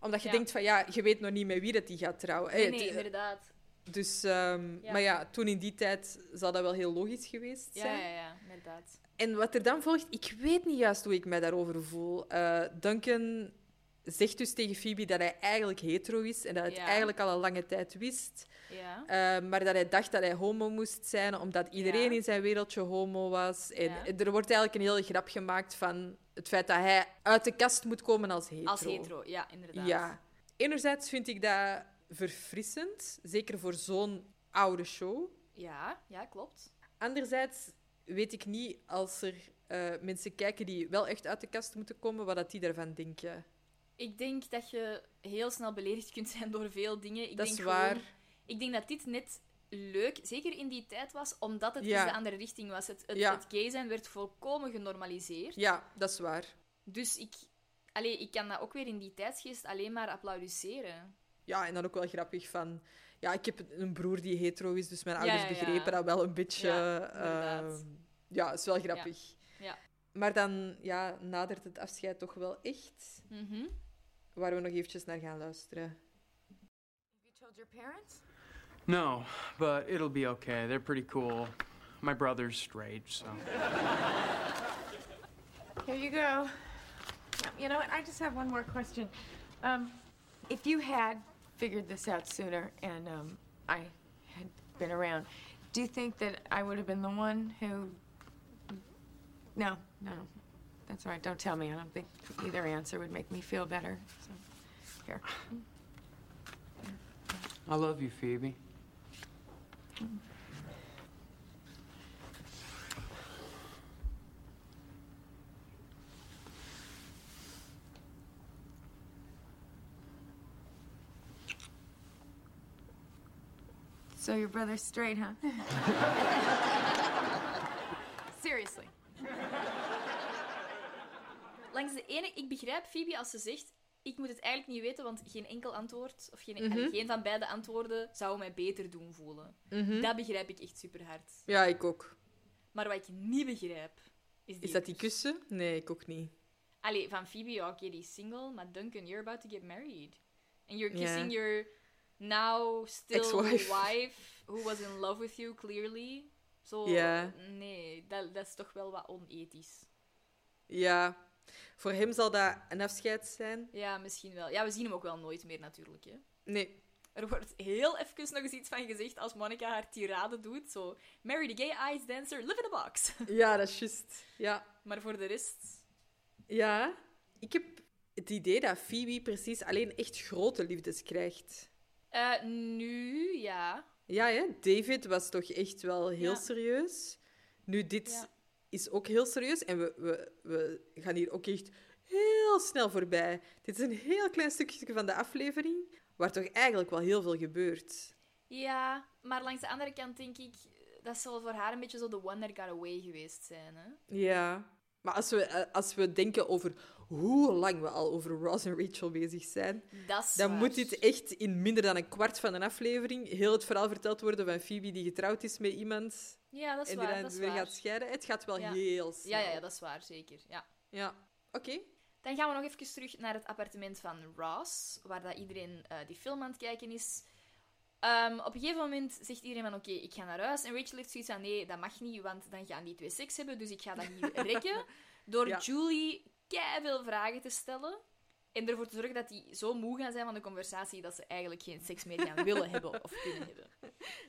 S1: Omdat je
S2: Ja.
S1: denkt van ja, je weet nog niet met wie dat die gaat trouwen.
S2: Nee,
S1: Eh,
S2: nee,
S1: het-
S2: inderdaad.
S1: dus, ehm,
S2: Ja.
S1: Maar ja, toen in die tijd zou dat wel heel logisch geweest
S2: Ja,
S1: zijn.
S2: ja, ja, inderdaad.
S1: En wat er dan volgt, ik weet niet juist hoe ik mij daarover voel. Eh, Duncan zegt dus tegen Phoebe dat hij eigenlijk hetero is en dat hij het
S2: Ja.
S1: eigenlijk al een lange tijd wist.
S2: Ja.
S1: Eh, maar dat hij dacht dat hij homo moest zijn, omdat iedereen
S2: Ja.
S1: in zijn wereldje homo was. En
S2: Ja.
S1: er wordt eigenlijk een hele grap gemaakt van het feit dat hij uit de kast moet komen als hetero.
S2: Als hetero, ja, inderdaad.
S1: Ja. Enerzijds vind ik dat verfrissend, zeker voor zo'n oude show.
S2: Ja, ja, klopt.
S1: Anderzijds weet ik niet als er eh, mensen kijken die wel echt uit de kast moeten komen, wat dat die daarvan denken.
S2: Ik denk dat je heel snel beledigd kunt zijn door veel dingen. Ik
S1: Dat is
S2: denk
S1: waar.
S2: Gewoon, ik denk dat dit net leuk, zeker in die tijd was, omdat het
S1: Ja.
S2: in de andere richting was. Het, het,
S1: Ja.
S2: het gay zijn werd volkomen genormaliseerd.
S1: Ja, dat is waar.
S2: Dus ik, allee, ik kan dat ook weer in die tijdsgeest alleen maar applaudisseren.
S1: Ja, en dan ook wel grappig van... Ja, ik heb een broer die hetero is, dus mijn
S2: Ja,
S1: ouders
S2: ja, ja.
S1: begrepen dat wel een beetje.
S2: Ja,
S1: Ja,
S2: inderdaad.
S1: ja is wel grappig.
S2: Ja.
S1: Maar dan ja, nadert het afscheid toch wel echt.
S2: Mhm.
S1: Waar we nog eventjes naar gaan luisteren.
S3: told your parents?
S13: No, but Uh, it'll be okay. They're pretty cool. My brother's straight, so.
S3: Here you go. You know what? I just have one more question. Um, if you had figured this out sooner and um, I had been around, do you think that I would have been the one who? No, no. That's all right. Don't tell me. I don't think either answer would make me feel better. So, here.
S13: I love you, Phoebe.
S3: So your brother's straight, huh? Seriously.
S2: Langs de ene, ik begrijp Phoebe als ze zegt: Ik moet het eigenlijk niet weten, want geen enkel antwoord, of geen,
S1: Mhm.
S2: allee, geen van beide antwoorden, zou mij beter doen voelen.
S1: Mhm.
S2: Dat begrijp ik echt super hard.
S1: Ja, ik ook.
S2: Maar wat ik niet begrijp, is die...
S1: Is dat die kussen? Nee, ik ook niet.
S2: Allee, van Phoebe, ja, oké, die is single, maar Duncan, you're about to get married. And you're
S1: Ja.
S2: kissing your now still
S1: Ex-wife.
S2: wife, who was in love with you, clearly. Zo,
S1: Ja.
S2: nee, dat, dat is toch wel wat onethisch.
S1: Ja, voor hem zal dat een afscheid zijn.
S2: Ja, misschien wel. Ja, we zien hem ook wel nooit meer natuurlijk, hè.
S1: Nee.
S2: Er wordt heel even nog eens iets van gezegd als Monica haar tirade doet. Zo, marry the gay ice dancer, live in a box.
S1: Ja, dat is juist. Ja.
S2: Maar voor de rest...
S1: Ja, ik heb het idee dat Phoebe precies alleen echt grote liefdes krijgt.
S2: Eh, nu, ja.
S1: Ja, hè? David was toch echt wel heel
S2: Ja.
S1: serieus. Nu, dit
S2: Ja.
S1: is ook heel serieus. En we, we, we gaan hier ook echt heel snel voorbij. Dit is een heel klein stukje van de aflevering, waar toch eigenlijk wel heel veel gebeurt.
S2: Ja, maar langs de andere kant denk ik... Dat zal voor haar een beetje zo de one that got away geweest zijn, hè.
S1: Ja. Maar als we, eh, als we denken over hoe lang we al over Ross en Rachel bezig zijn,
S2: Dat is
S1: dan
S2: waar.
S1: moet dit echt in minder dan een kwart van een aflevering heel het verhaal verteld worden van Phoebe die getrouwd is met iemand.
S2: Ja, dat is
S1: en
S2: waar,
S1: die dan
S2: dat is
S1: weer
S2: waar.
S1: gaat scheiden. Het gaat wel
S2: Ja.
S1: heel snel.
S2: Ja, ja, ja, dat is waar, zeker. Ja.
S1: Ja, oké.
S2: Dan gaan we nog even terug naar het appartement van Ross, waar dat iedereen eh, die film aan het kijken is. Ehm, op een gegeven moment zegt iedereen van, oké, ik ga naar huis. En Rachel heeft zoiets van, nee, dat mag niet, want dan gaan die twee seks hebben, dus ik ga dat hier rekken. Door
S1: Ja.
S2: Julie veel vragen te stellen. En ervoor te zorgen dat die zo moe gaan zijn van de conversatie dat ze eigenlijk geen seks meer gaan willen hebben of kunnen hebben.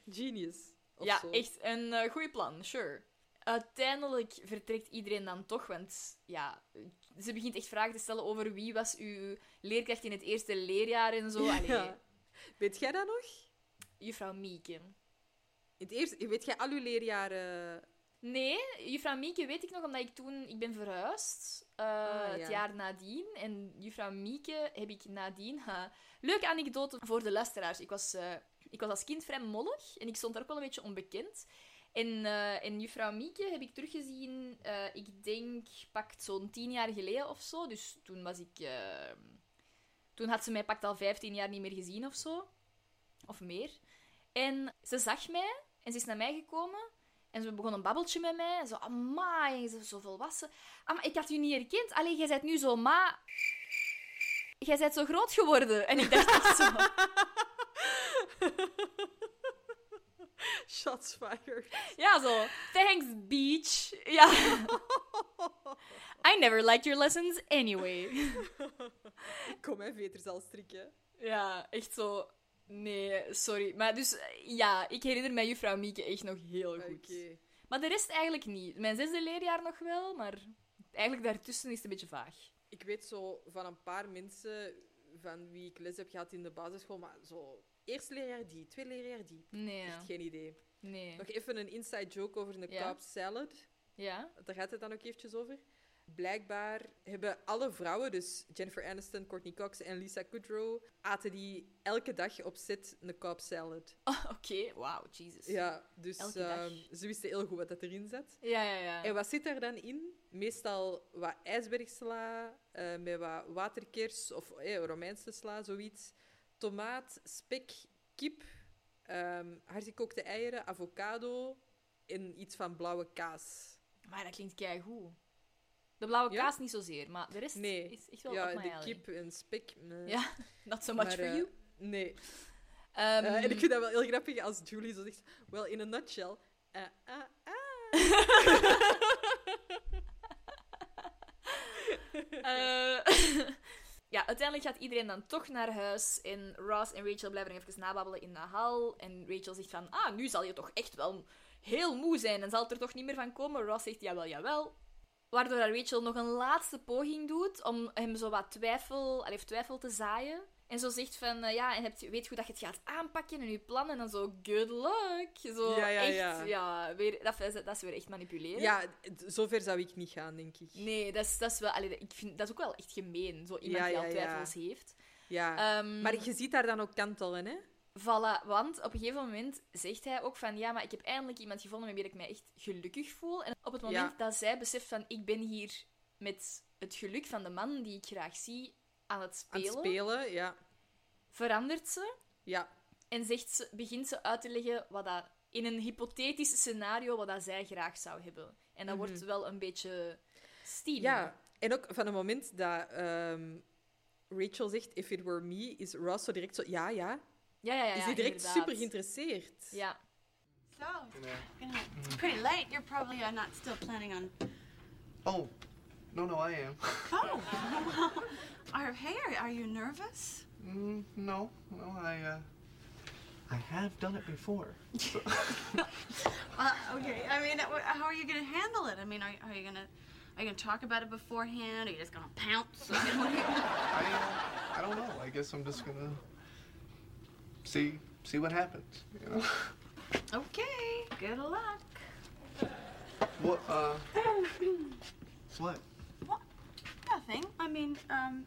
S1: Genius. of
S2: ja,
S1: zo.
S2: echt een eh, goeie plan, sure. Uiteindelijk vertrekt iedereen dan toch, want ja, ze begint echt vragen te stellen over wie was uw leerkracht in het eerste leerjaar en zo. Allee,
S1: Ja. Weet jij dat nog?
S2: Juffrouw Mieke.
S1: Het eerste, weet jij al uw leerjaren?
S2: Nee, juffrouw Mieke weet ik nog, omdat ik toen... Ik ben verhuisd eh,
S1: Ah, ja.
S2: het jaar nadien. En juffrouw Mieke heb ik nadien... ha, leuke anekdote voor de luisteraars. Ik was, eh, ik was als kind vrij mollig. En ik stond daar ook wel een beetje onbekend. En, eh, en juffrouw Mieke heb ik teruggezien, eh, ik denk, pakt zo'n tien jaar geleden of zo. Dus toen was ik... eh, toen had ze mij pakt al 15 jaar niet meer gezien of zo. Of meer. En ze zag mij en ze is naar mij gekomen. En ze begon een babbeltje met mij. En zo, amai, je bent zo volwassen. Ah, maar ik had u niet herkend. Allee, jij bent nu zo ma... Jij bent zo groot geworden. En ik dacht echt zo...
S1: Shots fired.
S2: Ja, zo. Thanks, beach. Ja. I never liked your lessons anyway.
S1: Kom, hè, veters al strikken.
S2: Ja, echt zo... Nee, sorry. Maar dus, eh, ja, ik herinner mij juffrouw Mieke echt nog heel goed. Maar de rest eigenlijk niet. Mijn zesde leerjaar nog wel, maar eigenlijk daartussen is het een beetje vaag.
S1: Ik weet zo van een paar mensen van wie ik les heb gehad in de basisschool, maar zo eerste leerjaar die, tweede leerjaar die.
S2: Nee.
S1: Echt geen idee.
S2: Nee.
S1: Nog even een inside joke over een
S2: Ja.
S1: Cobb salad.
S2: Ja?
S1: Daar gaat het dan ook eventjes over. Blijkbaar hebben alle vrouwen, dus Jennifer Aniston, Courtney Cox en Lisa Kudrow, aten die elke dag op set een Cobb salad.
S2: Oké, wauw, Jesus.
S1: Ja, dus
S2: Elke dag.
S1: ehm, ze wisten heel goed wat dat erin zat.
S2: Ja, ja, ja.
S1: En wat zit daar dan in? Meestal wat ijsbergsla, eh, met wat waterkers of eh, Romeinse sla, zoiets. Tomaat, spek, kip, ehm hardgekookte eieren, avocado en iets van blauwe kaas.
S2: Maar dat klinkt keigoed. De blauwe
S1: Ja?
S2: kaas niet zozeer, maar de rest
S1: Nee.
S2: is echt wel
S1: ja,
S2: op mijn
S1: de
S2: alley.
S1: kip en spek. eh. nee.
S2: Ja, not so much
S1: Maar,
S2: for
S1: eh,
S2: you.
S1: Nee.
S2: Ehm,
S1: Eh, en ik vind dat wel heel grappig als Julie zo zegt: Well, in a nutshell. eh, ah, ah."
S2: Eh, ja, uiteindelijk gaat iedereen dan toch naar huis. En Ross en Rachel blijven nog even nababbelen in de hal. En Rachel zegt van, ah, nu zal je toch echt wel heel moe zijn. En zal het er toch niet meer van komen? Ross zegt, jawel, jawel. Waardoor dat Rachel nog een laatste poging doet om hem zo wat twijfel, allee, twijfel te zaaien. En zo zegt van, eh, ja, en hebt, weet goed dat je het gaat aanpakken en je plan. En dan zo, good luck. Zo,
S1: Ja, ja,
S2: echt,
S1: ja.
S2: weer, dat, is- dat is weer echt manipuleren.
S1: Ja, d- zover zou ik niet gaan, denk ik.
S2: Nee, dat is, dat is wel... allee, ik vind, dat is ook wel echt gemeen, zo iemand
S1: Ja,
S2: die al
S1: ja, ja.
S2: twijfels heeft.
S1: Ja.
S2: Ehm,
S1: maar je ziet daar dan ook kantelen, hè?
S2: Voilà, want op een gegeven moment zegt hij ook van... Ja, maar ik heb eindelijk iemand gevonden met wie ik mij echt gelukkig voel. En op het moment
S1: Ja.
S2: dat zij beseft van... Ik ben hier met het geluk van de man die ik graag zie aan het
S1: Aan
S2: spelen.
S1: het spelen, ja.
S2: verandert ze.
S1: Ja.
S2: En zegt ze, begint ze uit te leggen wat dat, in een hypothetisch scenario wat dat zij graag zou hebben. En dat wordt
S1: Mhm.
S2: wel een beetje steamy.
S1: Ja, en ook van het moment dat ehm, Rachel zegt: If it were me, is Ross zo direct zo. Ja, ja.
S2: Ja, Ah ja, ja,
S1: is
S2: ja,
S1: hij direct
S2: inderdaad.
S1: super geïnteresseerd?
S2: Ja.
S12: So, it's pretty late. You're probably uh, not still planning on.
S5: Oh, no, no, I am.
S12: Oh, well, are, hey, are, are you nervous?
S5: Mm, no, no, I, uh, I have done it before. So-
S12: Well, okay. I mean, uh, how are you going to handle it? I mean, are, are you going to are you going to talk about it beforehand? Are you just going to pounce? I mean, what are you gonna-
S5: I, uh, I don't know. I guess I'm just gonna see see what happens. You know.
S12: okay. Good luck.
S5: What? Uh. What?
S12: Nothing. I mean, um,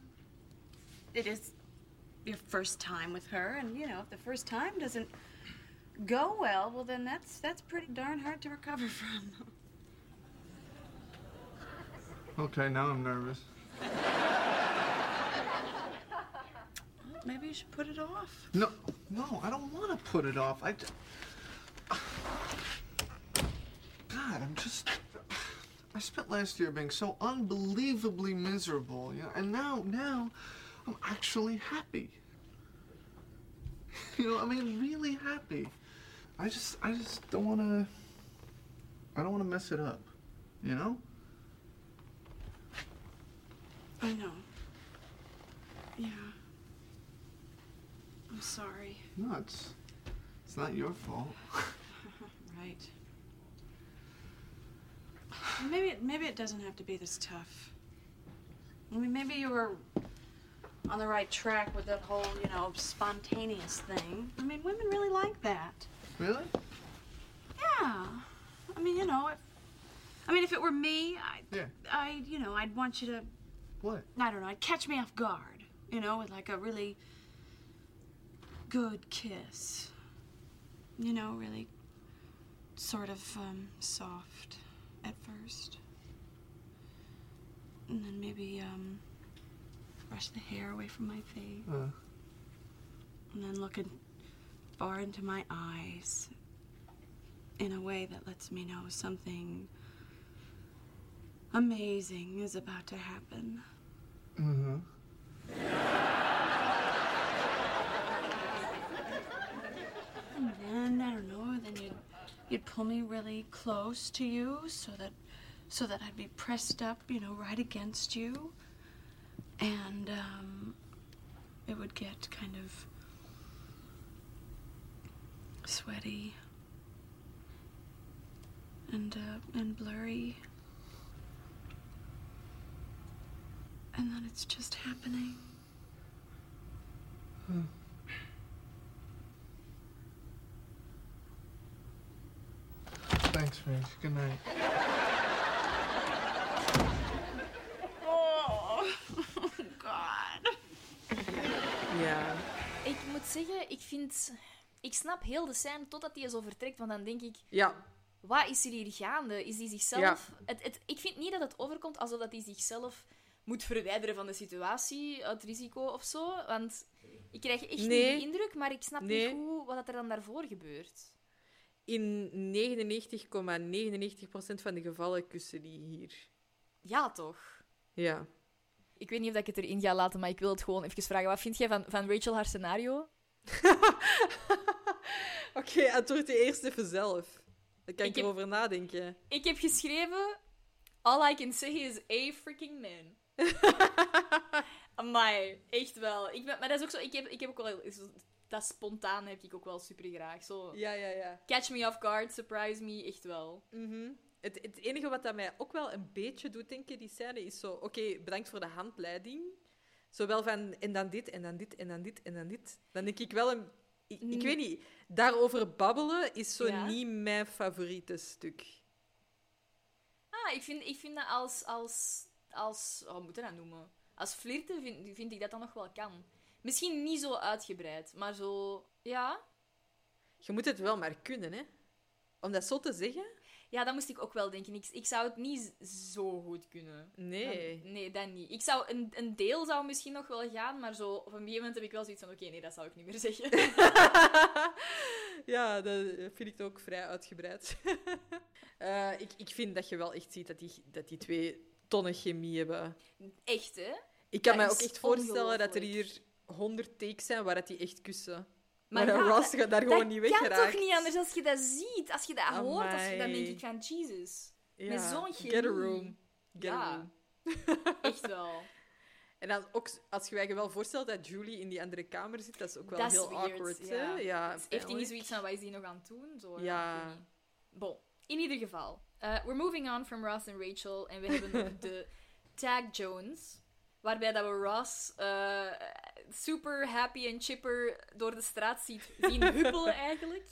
S12: it is your first time with her, and you know, if the first time doesn't go well, well, then that's that's pretty darn hard to recover from.
S5: Okay, now I'm nervous.
S12: Maybe you should put it off.
S5: No, no, I don't want to put it off. I. j- God, I'm just. I spent last year being so unbelievably miserable, you know, and now, now, I'm actually happy. You know, I mean, really happy. I just, I just don't want to. I don't want to mess it up, you know.
S12: I know. Yeah. I'm sorry.
S5: No, it's, it's not your fault.
S12: Right. Maybe it, maybe it doesn't have to be this tough. I mean, maybe you were on the right track with that whole, you know, spontaneous thing. I mean, women really like that.
S5: Really?
S12: Yeah. I mean, you know, if, I mean, if it were me, I,
S5: Yeah.
S12: I, you know, I'd want you to,
S5: What?
S12: I don't know, I'd catch me off guard, you know, with like a really good kiss. You know, really sort of um, soft at first. And then maybe um, brush the hair away from my face.
S5: Uh,
S12: And then look in, far into my eyes in a way that lets me know something amazing is about to happen.
S5: mm-hmm.
S12: And then I don't know. Then you'd you'd pull me really close to you so that so that I'd be pressed up, you know, right against you, and um, it would get kind of sweaty and uh, and blurry. And then it's just happening.
S5: Thanks, Rich. Good night.
S12: Oh, God.
S1: Ja.
S2: Ik moet zeggen, ik vind... Ik snap heel de scène totdat hij zo vertrekt, want dan denk ik...
S1: Ja.
S2: Wat is er hier gaande? Is hij zichzelf...
S1: Ja.
S2: Het, het, ik vind niet dat het overkomt alsof dat hij zichzelf moet verwijderen van de situatie, uit risico of zo. Want ik krijg echt
S1: Nee.
S2: niet die indruk, maar ik snap
S1: Nee.
S2: niet hoe, wat dat er dan daarvoor gebeurt.
S1: In 99,99% van de gevallen kussen die hier.
S2: Ja, toch?
S1: Ja.
S2: Ik weet niet of ik het erin ga laten, maar ik wil het gewoon even vragen. Wat vind jij van, van Rachel haar scenario?
S1: Oké, antwoord je eerst even zelf. Dan kan ik,
S2: Ik heb-
S1: erover nadenken.
S2: Ik heb geschreven... All I can say is a freaking man. Amai, echt wel. Ik ben, maar dat is ook zo... Ik heb, ik heb ook wel... is- Dat spontaan heb ik ook wel super graag. Zo,
S1: Ja, ja, ja.
S2: Catch me off guard, surprise me, echt wel.
S1: Mhm. Het, het enige wat dat mij ook wel een beetje doet denken, die scène, is zo... Oké, bedankt voor de handleiding. Zowel van en dan dit, en dan dit, en dan dit, en dan dit. Dan denk ik wel een... Ik, ik
S2: Mm.
S1: weet niet. Daarover babbelen is zo
S2: Ja.
S1: niet mijn favoriete stuk.
S2: Ah, ik vind, ik vind dat als... als, als oh, hoe moet je dat noemen? Als flirten vind, vind ik dat dan nog wel kan. Misschien niet zo uitgebreid, maar zo... Ja,
S1: Je moet het wel maar kunnen, hè. Om dat zo te zeggen...
S2: Ja, dat moest ik ook wel denken. Ik, ik zou het niet z- zo goed kunnen.
S1: Nee.
S2: Dat- nee, dat niet. Ik zou, een, een deel zou misschien nog wel gaan, maar zo, op een gegeven moment heb ik wel zoiets van, oké, nee, dat zou ik niet meer zeggen.
S1: Ja, dat vind ik ook vrij uitgebreid. Eh, ik, ik vind dat je wel echt ziet dat die, dat die twee tonnen chemie hebben.
S2: echt, hè?
S1: Ik kan
S2: Dat
S1: me ook
S2: is
S1: echt voorstellen dat er
S2: ongelooflijk.
S1: hier honderd takes zijn waar dat die echt kussen.
S2: Maar
S1: Maar,
S2: ja,
S1: Ross
S2: dat-
S1: gaat daar gewoon niet weg
S2: Dat kan toch niet anders als je dat ziet, als je dat hoort, als je, dan
S1: Amai.
S2: denk ik van, Jesus. Met zo'n chemie.
S1: Get a room. Get
S2: Ja.
S1: a room.
S2: Echt wel.
S1: En dan ook, s- als je je wel voorstelt dat Julie in die andere kamer zit, dat is ook wel
S2: dat is
S1: heel
S2: weird,
S1: awkward.
S2: ja.
S1: Hè? Ja,
S2: Dus heeft hij
S1: pijnlijk.
S2: niet zoiets van, wat is hij nog aan het doen? Zo, ik weet
S1: Ja.
S2: niet. Bon, in ieder geval. eh, we're moving on from Ross en Rachel. En we hebben de Tag Jones. Waarbij dat we Ross eh, super happy en chipper door de straat ziet, zien huppelen eigenlijk.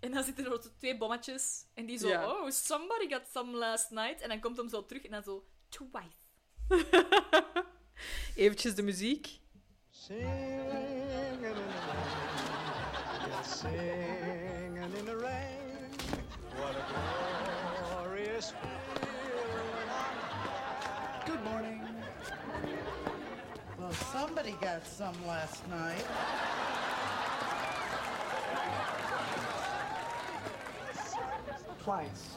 S2: En dan zitten er zo twee bommetjes. En die zo,
S1: Ja.
S2: oh, somebody got some last night. En dan komt hem zo terug en dan zo, twice.
S1: Eventjes de muziek.
S14: Singing in the rain. What a glorious feeling. Good morning.
S15: Well, somebody got some last night.
S14: Twice.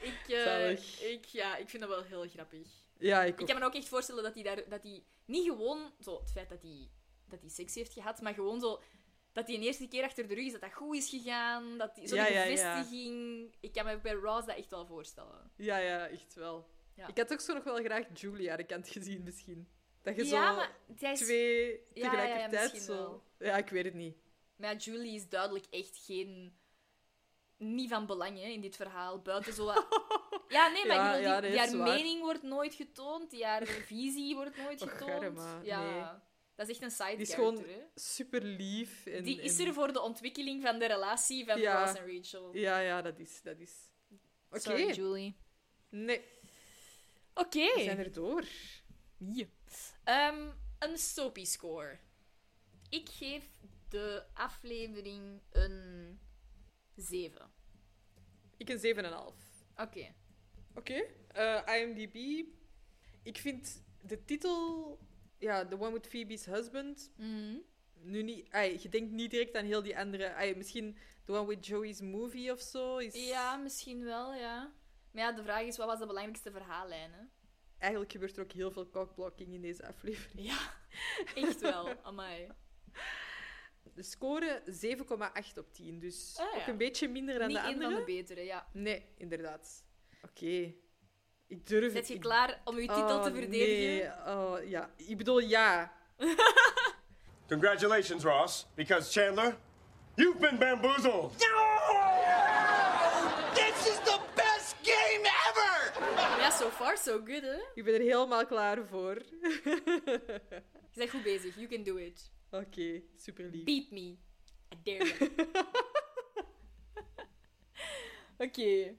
S2: Ik, eh,
S1: Zalig.
S2: ik, ja, ik vind dat wel heel grappig.
S1: Ja, ik
S2: ik
S1: ook.
S2: kan me ook echt voorstellen dat hij daar, dat hij niet gewoon zo het feit dat hij, dat hij seks heeft gehad, maar gewoon zo dat hij een eerste keer achter de rug is, dat dat goed is gegaan, dat hij zo'n
S1: Ja, ja, ja.
S2: bevestiging. Ik kan me bij Ross dat echt wel voorstellen.
S1: Ja, ja, echt wel.
S2: Ja.
S1: Ik had ook zo nog wel graag Julie aan de kant gezien, misschien. Dat je
S2: Ja,
S1: zo
S2: maar zij is-
S1: twee
S2: Ja, ja, ja,
S1: tegelijkertijd
S2: misschien
S1: zo...
S2: wel.
S1: Ja, ik weet het niet.
S2: Maar ja, Julie is duidelijk echt geen niet van belang hè, in dit verhaal buiten zo wat... Ja, nee, maar
S1: Ja,
S2: ik bedoel, die,
S1: ja, nee, dat
S2: die haar
S1: is waar.
S2: mening wordt nooit getoond, die haar visie wordt nooit
S1: Och,
S2: getoond.
S1: karma,
S2: ja,
S1: nee.
S2: dat is echt een side
S1: Die is
S2: character,
S1: gewoon
S2: hè.
S1: super lief. En,
S2: Die is
S1: en-
S2: er voor de ontwikkeling van de relatie van
S1: Ja.
S2: Ross en Rachel.
S1: Ja, ja, dat is... Dat is... Oké.
S2: Sorry, Julie.
S1: Nee.
S2: Oké.
S1: We zijn er door.
S2: Ja. Ehm, een soapy score. Ik geef de aflevering een 7.
S1: Ik een 7,5.
S2: Oké.
S1: Oké, eh, IMDb. Ik vind de titel, ja, The One with Phoebe's Husband,
S2: Mhm.
S1: nu niet. ai, je denkt niet direct aan heel die andere. ai, misschien The One with Joey's Movie of zo. Is
S2: Ja, misschien wel, ja. Maar ja, de vraag is, wat was de belangrijkste verhaallijn, hè?
S1: Eigenlijk gebeurt er ook heel veel cockblocking in deze aflevering.
S2: Ja, Echt wel, amai.
S1: De score 7,8 op 10, dus
S2: Ah, ja.
S1: ook een beetje minder dan
S2: Niet
S1: de
S2: een
S1: andere.
S2: van de betere, ja.
S1: Nee, inderdaad. Oké. Ik durf
S2: Zet
S1: het.
S2: je
S1: ik-
S2: klaar om je titel
S1: Oh,
S2: te verdedigen?
S1: Nee. Oh, ja. Ik bedoel, ja.
S8: Congratulations, Ross, because Chandler, you've been bamboozled.
S14: This is the best game ever!
S2: Ja, so far so good, hè?
S1: Ik ben er helemaal klaar voor.
S2: Je bent goed bezig, you can do it.
S1: Oké, super lief.
S2: Beat me. I dare you. Oké.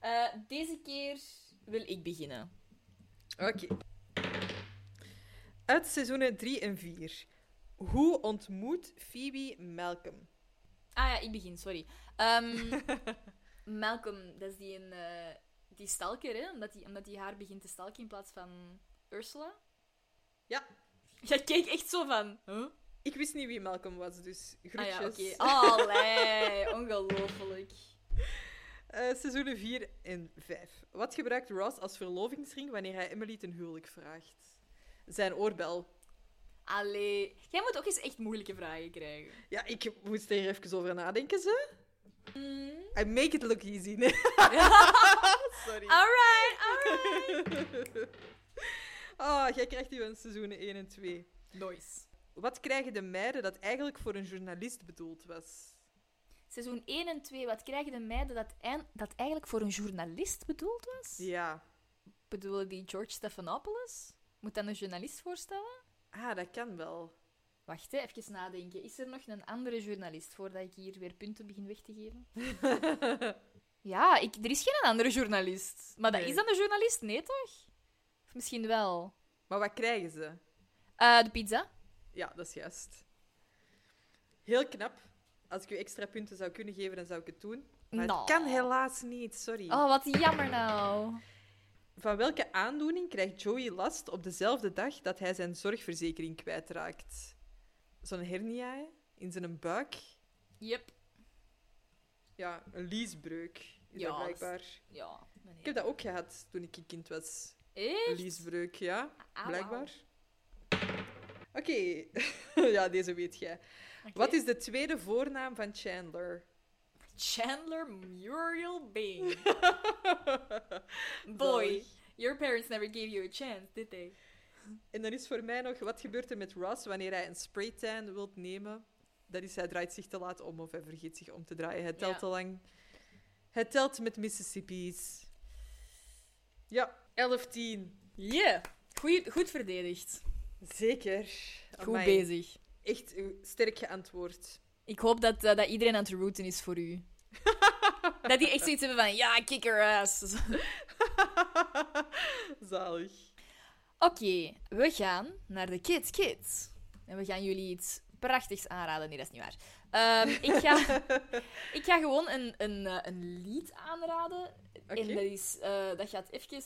S2: Eh, deze keer wil ik beginnen.
S1: Oké. Uit seizoenen 3 en 4. Hoe ontmoet Phoebe Malcolm?
S2: Ah ja, ik begin, sorry. Ehm, Malcolm, dat is die, een, eh, die stalker, hè? Omdat hij omdat die haar begint te stalken in plaats van Ursula.
S1: Ja.
S2: Jij keek echt zo van... Huh?
S1: Ik wist niet wie Malcolm was, dus
S2: Ah ja, oké.
S1: groetjes.
S2: Allee, ongelooflijk.
S1: Eh, seizoenen 4 en 5. Wat gebruikt Ross als verlovingsring wanneer hij Emily ten huwelijk vraagt? Zijn oorbel.
S2: Allee. Jij moet ook eens echt moeilijke vragen krijgen.
S1: Ja, ik moest er even over nadenken, ze.
S2: Mm.
S1: I make it look easy. Nee. Sorry.
S2: Alright, alright.
S1: Ah, jij krijgt die van seizoenen 1 en 2.
S2: Nice.
S1: Wat krijgen de meiden dat eigenlijk voor een journalist bedoeld was?
S2: Seizoen 1 en 2, wat krijgen de meiden dat, eind- dat eigenlijk voor een journalist bedoeld was?
S1: Ja.
S2: Bedoelen die George Stephanopoulos? Moet dat een journalist voorstellen?
S1: Ah, dat kan wel.
S2: Wacht, hè, even nadenken. Is er nog een andere journalist voordat ik hier weer punten begin weg te geven? ja, ik, er is geen andere journalist. Maar dat,
S1: Nee.
S2: is dat een journalist? Nee, toch? Of misschien wel.
S1: Maar wat krijgen ze?
S2: Eh, de pizza?
S1: Ja, dat is juist. Heel knap. Als ik u extra punten zou kunnen geven, dan zou ik het doen. Maar
S2: Nou.
S1: het kan helaas niet, sorry.
S2: Oh, wat jammer nou.
S1: Van welke aandoening krijgt Joey last op dezelfde dag dat hij zijn zorgverzekering kwijtraakt? Zo'n hernia hè? in zijn buik?
S2: Yep.
S1: Ja, een liesbreuk is
S2: Ja,
S1: dat
S2: dat is-
S1: blijkbaar.
S2: Ja. nee.
S1: Ik heb dat ook gehad toen ik een kind was.
S2: Echt?
S1: Liesbreuk, ja.
S2: Ah,
S1: Blijkbaar. Oké. ja, deze weet jij. Wat is de tweede voornaam van Chandler?
S2: Chandler Muriel Bing. Boy,
S1: Zalig.
S2: your parents never gave you a chance, did they?
S1: En dan is voor mij nog, wat gebeurt er met Ross wanneer hij een spraytan wilt nemen? Dat is, hij draait zich te laat om of hij vergeet zich om te draaien. Hij telt
S2: Ja.
S1: te lang. Hij telt met Mississippi's. Ja, 11-10.
S2: Yeah, Goeie, goed verdedigd.
S1: Zeker.
S2: Goed
S1: Amai.
S2: bezig.
S1: Echt eh, sterk geantwoord.
S2: Ik hoop dat, eh, dat iedereen aan het rooten is voor u. dat die echt zoiets hebben van, ja, kick her ass.
S1: Zalig.
S2: Oké, we gaan naar de Kids Kids. En we gaan jullie iets prachtigs aanraden. Nee, dat is niet waar. Ehm, ik, ga, ik ga gewoon een, een, eh, een lied aanraden. En dat, is, eh, dat gaat even...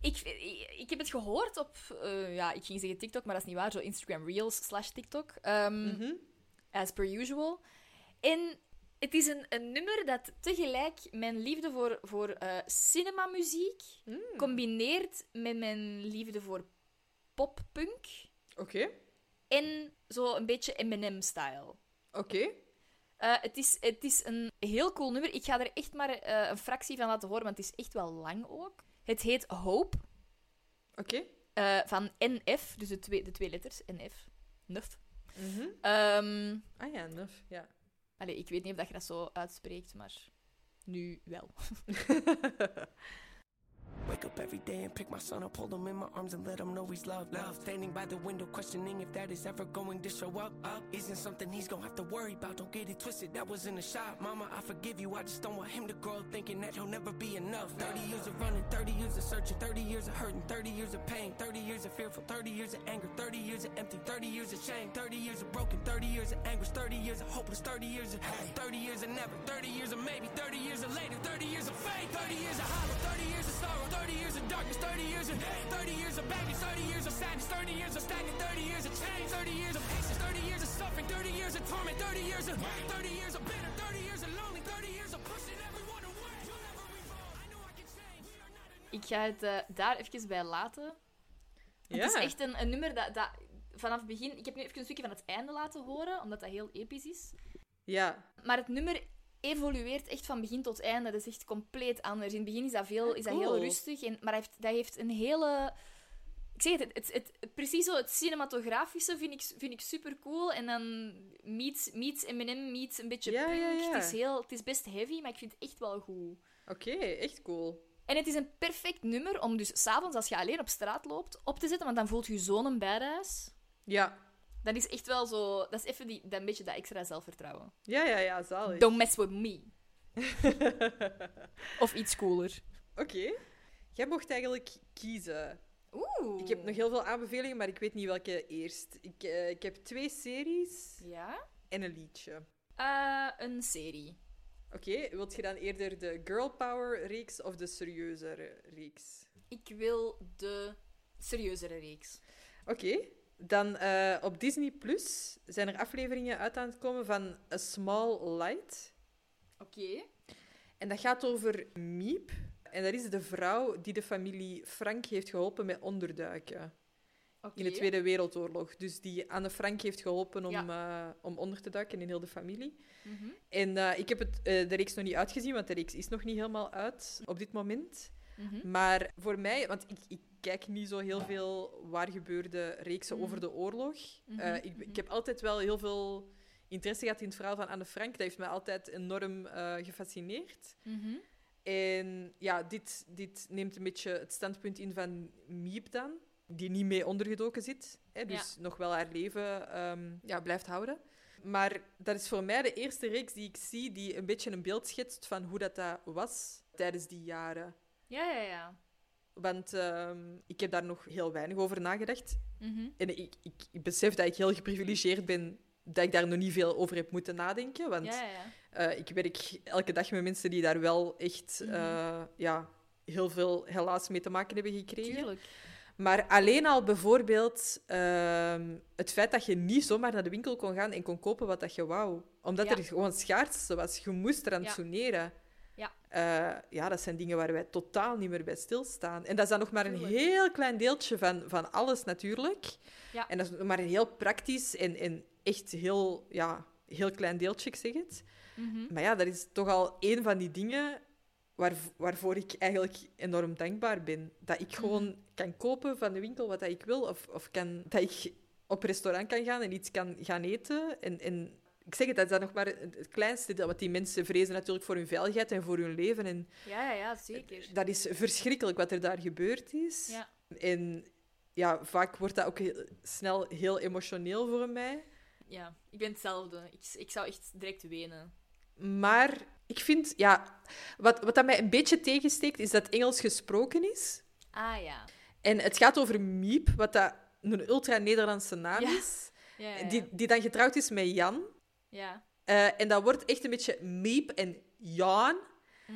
S2: Ik, ik, ik heb het gehoord op... eh, ja, ik ging zeggen TikTok, maar dat is niet waar. Zo Instagram Reels slash TikTok. Ehm,
S1: Mhm.
S2: As per usual. En het is een, een nummer dat tegelijk mijn liefde voor, voor eh, cinemamuziek combineert met mijn liefde voor poppunk
S1: Oké,
S2: en zo een beetje Eminem-style.
S1: oké.
S2: Eh, het, is, het is een heel cool nummer. Ik ga er echt maar eh, een fractie van laten horen, want het is echt wel lang ook. Het heet Hope. eh,
S1: Oké.
S2: van NF, dus de twee, de twee letters, NF. Nuf.
S1: Mhm.
S2: Ehm,
S1: Ah ja, nuf, ja.
S2: allee, ik weet niet of dat je dat zo uitspreekt, maar nu wel.
S16: Wake up every day and pick my son up, hold him in my arms and let him know he's loved. Love standing by the window, questioning if that is ever going to show up. Up isn't something he's gonna have to worry about. Don't get it twisted, that was in the shop. Mama, I forgive you, I just don't want him to grow up thinking that he'll never be enough. 30 years of running, 30 years of searching, 30 years of hurting, 30 years of pain, 30 years of fearful, 30 years of anger, 30 years of empty, 30 years of shame, 30 years of broken, 30 years of anguish, 30 years of hopeless, 30 years of hate, 30 years of never, 30 years of maybe, 30 years of later, 30 years of faith, 30 years of hollow, 30 years of sorrow, 30 years of darkness, 30 years of hate, 30 years of baggage, 30 years of sadness, 30 years of stagnant, 30 years of change, 30 years of patience, 30 years of suffering, 30 years of torment, 30 years of 30 years of bitter, 30 years of lonely, 30 years of pushing everyone away. You'll never revolve. I know I can change.
S2: Ik ga het eh, daar even bij laten.
S1: Ja.
S2: Het is echt een, een nummer dat, dat vanaf het begin... Ik heb nu even een stukje van het einde laten horen, omdat dat heel episch is.
S1: Ja,
S2: Maar het nummer evolueert echt van begin tot einde. Dat is echt compleet anders. In het begin is dat, veel, is dat heel
S1: Ah, cool.
S2: rustig, en, maar hij heeft, dat heeft een hele... Ik zeg het, het, het, het- precies zo, het cinematografische vind ik, vind ik super cool. En dan meets, meets Eminem, meets een beetje
S1: Ja,
S2: punk.
S1: ja, ja.
S2: Het, is heel, het is best heavy, maar ik vind het echt wel goed.
S1: oké. Echt cool.
S2: En het is een perfect nummer om dus s'avonds, als je alleen op straat loopt, op te zetten. Want dan voelt je zo'n badass.
S1: Ja.
S2: Dat is echt wel zo... Dat is even die, dat een beetje dat extra zelfvertrouwen.
S1: Ja, ja, Oh, ja, zalig.
S2: Don't mess with me. of iets cooler.
S1: Oké. Jij mocht eigenlijk kiezen.
S2: Oeh.
S1: Ik heb nog heel veel aanbevelingen, maar ik weet niet welke eerst. Ik, eh, ik heb twee series
S2: Ja?
S1: en een liedje.
S2: Eh, een serie.
S1: Oké, wilt je dan eerder de girl power reeks of de serieuzere reeks?
S2: Ik wil de serieuzere reeks.
S1: Oké. Dan eh, op Disney Plus zijn er afleveringen uit aan het komen van A Small Light.
S2: Oké.
S1: En dat gaat over Miep. En dat is de vrouw die de familie Frank heeft geholpen met onderduiken.
S2: Oké.
S1: In de Tweede Wereldoorlog. Dus die Anne Frank heeft geholpen om, eh, om onder te duiken in heel de familie.
S2: Mhm.
S1: En eh, ik heb het, eh, de reeks nog niet uitgezien, want de reeks is nog niet helemaal uit op dit moment.
S2: Mhm.
S1: Maar voor mij, want ik, ik kijk niet zo heel veel waar gebeurde reeksen
S2: Mhm.
S1: over de oorlog.
S2: Mhm,
S1: Eh, ik,
S2: mhm.
S1: ik heb altijd wel heel veel interesse gehad in het verhaal van Anne Frank. Dat heeft mij altijd enorm eh, gefascineerd.
S2: Mhm.
S1: En ja, dit, dit neemt een beetje het standpunt in van Miep dan, die niet mee ondergedoken zit. Hè, dus nog wel haar leven ehm, ja, blijft houden. Maar dat is voor mij de eerste reeks die ik zie die een beetje een beeld schetst van hoe dat, dat was tijdens die jaren.
S2: Ja, ja, ja.
S1: Want ehm, ik heb daar nog heel weinig over nagedacht.
S2: Mhm.
S1: En ik, ik, ik besef dat ik heel geprivilegeerd ben dat ik daar nog niet veel over heb moeten nadenken. Want
S2: Ja, ja,
S1: eh, ik werk elke dag met mensen die daar wel echt
S2: Mhm.
S1: eh, ja, heel veel helaas mee te maken hebben gekregen.
S2: Tuurlijk.
S1: Maar alleen al bijvoorbeeld ehm, het feit dat je niet zomaar naar de winkel kon gaan en kon kopen wat dat je wou. Omdat
S2: Ja.
S1: er gewoon schaarste was. Je moest eraan
S2: Ja.
S1: soneren.
S2: Ja.
S1: Eh, ja, dat zijn dingen waar wij totaal niet meer bij stilstaan. En dat is dan nog maar een heel klein deeltje van, van alles natuurlijk.
S2: Ja.
S1: En dat is nog maar een heel praktisch en, en echt heel, ja, heel klein deeltje, ik zeg het.
S2: Mhm.
S1: Maar ja, dat is toch al één van die dingen waar, waarvoor ik eigenlijk enorm dankbaar ben. Dat ik gewoon kan kopen van de winkel wat dat ik wil. Of, of kan, dat ik op restaurant kan gaan en iets kan gaan eten. En, en ik zeg het, dat is dan nog maar het het kleinste deel. Want die mensen vrezen natuurlijk voor hun veiligheid en voor hun leven. En
S2: Ja, ja, ja, zeker.
S1: dat is verschrikkelijk wat er daar gebeurd is.
S2: Ja.
S1: En ja, vaak wordt dat ook heel- snel heel emotioneel voor mij.
S2: Ja, ik ben hetzelfde. Ik, ik zou echt direct wenen.
S1: Maar ik vind, ja, wat, wat dat mij een beetje tegensteekt, is dat Engels gesproken is.
S2: Ah ja.
S1: En het gaat over Miep, wat dat een ultra-Nederlandse naam
S2: Ja.
S1: is.
S2: Ja, ja, ja.
S1: Die, die dan getrouwd is met Jan.
S2: Ja.
S1: Eh, en dat wordt echt een beetje Miep en Jan.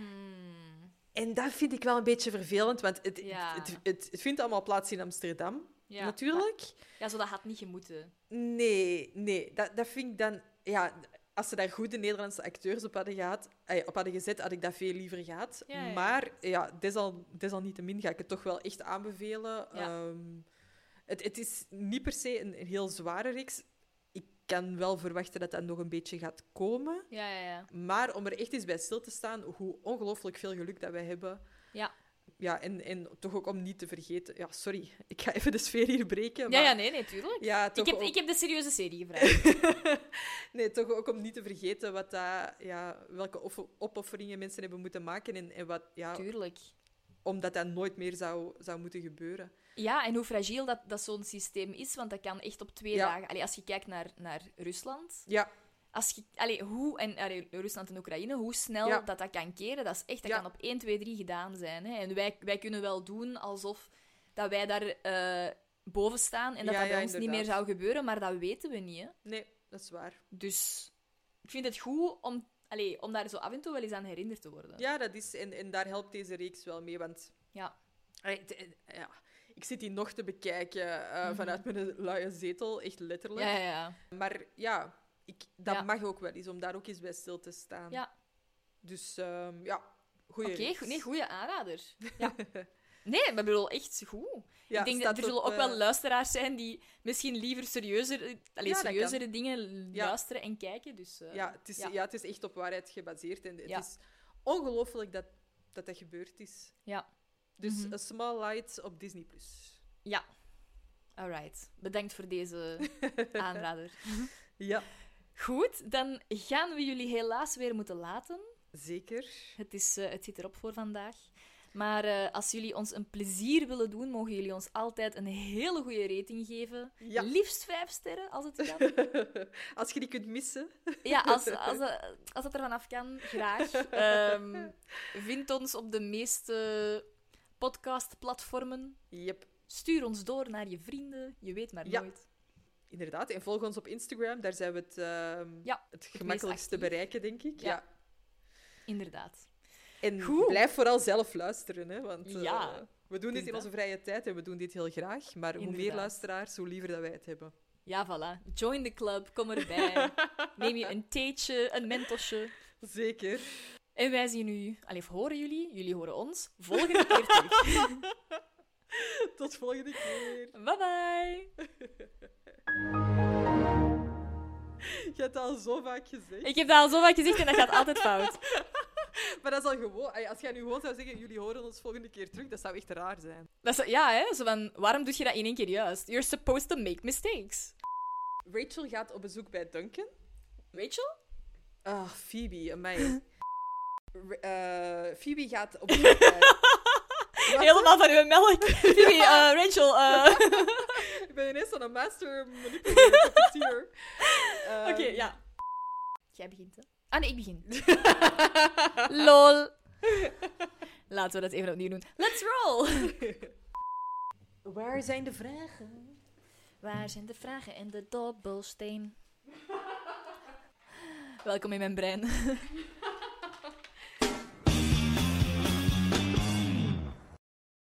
S2: Hmm.
S1: En dat vind ik wel een beetje vervelend, want het,
S2: Ja.
S1: het, het, het vindt allemaal plaats in Amsterdam,
S2: Ja,
S1: natuurlijk.
S2: Ja, zo dat had niet gemoeten.
S1: Nee, nee. Dat, dat vind ik dan... Ja, als ze daar goede Nederlandse acteurs op hadden, gehad, eh, op hadden gezet, had ik dat veel liever gehad.
S2: Ja, ja, ja.
S1: Maar ja, desal, desalniettemin ga ik het toch wel echt aanbevelen.
S2: Ja.
S1: Ehm, het, het is niet per se een, een heel zware reeks. Ik kan wel verwachten dat dat nog een beetje gaat komen.
S2: Ja, ja, ja.
S1: Maar om er echt eens bij stil te staan, hoe ongelooflijk veel geluk dat wij hebben.
S2: Ja.
S1: Ja, en, en toch ook om niet te vergeten... Ja, sorry. Ik ga even de sfeer hier breken.
S2: Ja,
S1: maar-
S2: ja, nee, nee, tuurlijk.
S1: Ja,
S2: ik,
S1: toch
S2: heb,
S1: ook-
S2: ik heb de serieuze serie gevraagd.
S1: Nee, toch ook om niet te vergeten wat dat, ja, welke off- opofferingen mensen hebben moeten maken. En, en wat, ja,
S2: Tuurlijk.
S1: Omdat dat nooit meer zou, zou moeten gebeuren.
S2: Ja, en hoe fragiel dat, dat zo'n systeem is, want dat kan echt op twee
S1: Ja.
S2: dagen. Allee, als je kijkt naar, naar Rusland.
S1: Ja.
S2: Als je, allee, hoe, en allee, Rusland en Oekraïne, hoe snel
S1: Ja.
S2: dat dat kan keren, dat is echt, dat
S1: Ja.
S2: kan op 1, 2, 3 gedaan zijn. Hè? En wij, wij kunnen wel doen alsof dat wij daar eh, boven staan en dat
S1: Ja,
S2: dat bij
S1: ja,
S2: ons niet meer
S1: inderdaad.
S2: zou gebeuren, maar dat weten we niet. Hè?
S1: Nee, dat is waar.
S2: Dus ik vind het goed om, allee, om daar zo af en toe wel eens aan herinnerd te worden.
S1: Ja, dat is, en, en daar helpt deze reeks wel mee, want...
S2: Ja.
S1: Allee, het- het- ja. Ik zit die nog te bekijken eh,
S2: Mhm.
S1: vanuit mijn luie zetel, echt letterlijk.
S2: Ja, ja, ja.
S1: Maar ja, ik, dat
S2: Ja.
S1: mag ook wel eens, om daar ook eens bij stil te staan.
S2: Ja.
S1: Dus ehm, ja, goeie
S2: Oké,
S1: reeks.
S2: goe- nee, goede aanrader. Ja. Nee, maar ik bedoel, echt goed.
S1: Ja,
S2: ik denk
S1: staat
S2: dat er zullen
S1: op,
S2: ook wel
S1: eh,
S2: luisteraars zijn die misschien liever serieuzer, alleen
S1: dat
S2: serieuzere
S1: kan.
S2: dingen
S1: Ja.
S2: luisteren en kijken. Dus, eh,
S1: Ja, het is, ja. het is echt op waarheid gebaseerd. En het
S2: Ja.
S1: is ongelooflijk dat, dat dat gebeurd is.
S2: Ja.
S1: Dus
S2: Mhm.
S1: A Small Light op Disney+. Plus.
S2: Ja. Alright. Bedankt voor deze aanrader.
S1: Ja.
S2: Goed, dan gaan we jullie helaas weer moeten laten.
S1: Zeker.
S2: Het, is, eh, het zit erop voor vandaag. Maar eh, als jullie ons een plezier willen doen, mogen jullie ons altijd een hele goede rating geven. Liefst vijf sterren, als het kan.
S1: Als je die kunt missen.
S2: Ja, als, als, dat- als dat er vanaf kan, graag. Ehm, vind ons op de meeste podcastplatformen.
S1: Yep.
S2: Stuur ons door naar je vrienden. Je weet maar
S1: Ja.
S2: nooit.
S1: Inderdaad. En volg ons op Instagram. Daar zijn we het, ehm, het gemakkelijkst te
S2: actief.
S1: bereiken, denk ik.
S2: Ja.
S1: Ja.
S2: Inderdaad.
S1: En
S2: Goed.
S1: blijf vooral zelf luisteren. Hè, want eh,
S2: Ja,
S1: we doen dit in
S2: inderdaad.
S1: onze vrije tijd en we doen dit heel graag. Maar hoe meer
S2: Inderdaad.
S1: luisteraars, hoe liever dat wij het hebben.
S2: Ja, voilà. Join the club. Kom erbij. Neem je een theetje, een mentosje.
S1: Zeker.
S2: En wij zien u, allee, of horen jullie, jullie horen ons, volgende keer terug.
S1: Tot volgende keer.
S2: Bye bye.
S1: Je hebt dat al zo vaak gezegd.
S2: Ik heb dat al zo vaak gezegd en dat gaat altijd fout.
S1: Maar dat is al gewoon... ay, Als jij nu gewoon zou zeggen, jullie horen ons volgende keer terug, dat zou echt raar zijn.
S2: Dat is, ja, hè? Zo van, waarom doe je dat in één keer juist? You're supposed to make mistakes.
S1: Rachel gaat op bezoek bij Duncan.
S2: Rachel?
S1: Ah, Phoebe, amai. R- eh, Phoebe gaat op bezoek bij...
S2: Helemaal van uw melk. Phoebe, eh, Rachel, eh,
S1: Ik ben ineens zo'n master manipulator puppeteer.
S2: Oké,
S1: Ehm,
S2: ja. Jij begint, hè? Ah, nee, ik begin. Lol. Laten we dat even opnieuw doen. Let's roll! Waar zijn de vragen? Waar zijn de vragen en de dobbelsteen? Welkom in mijn brein.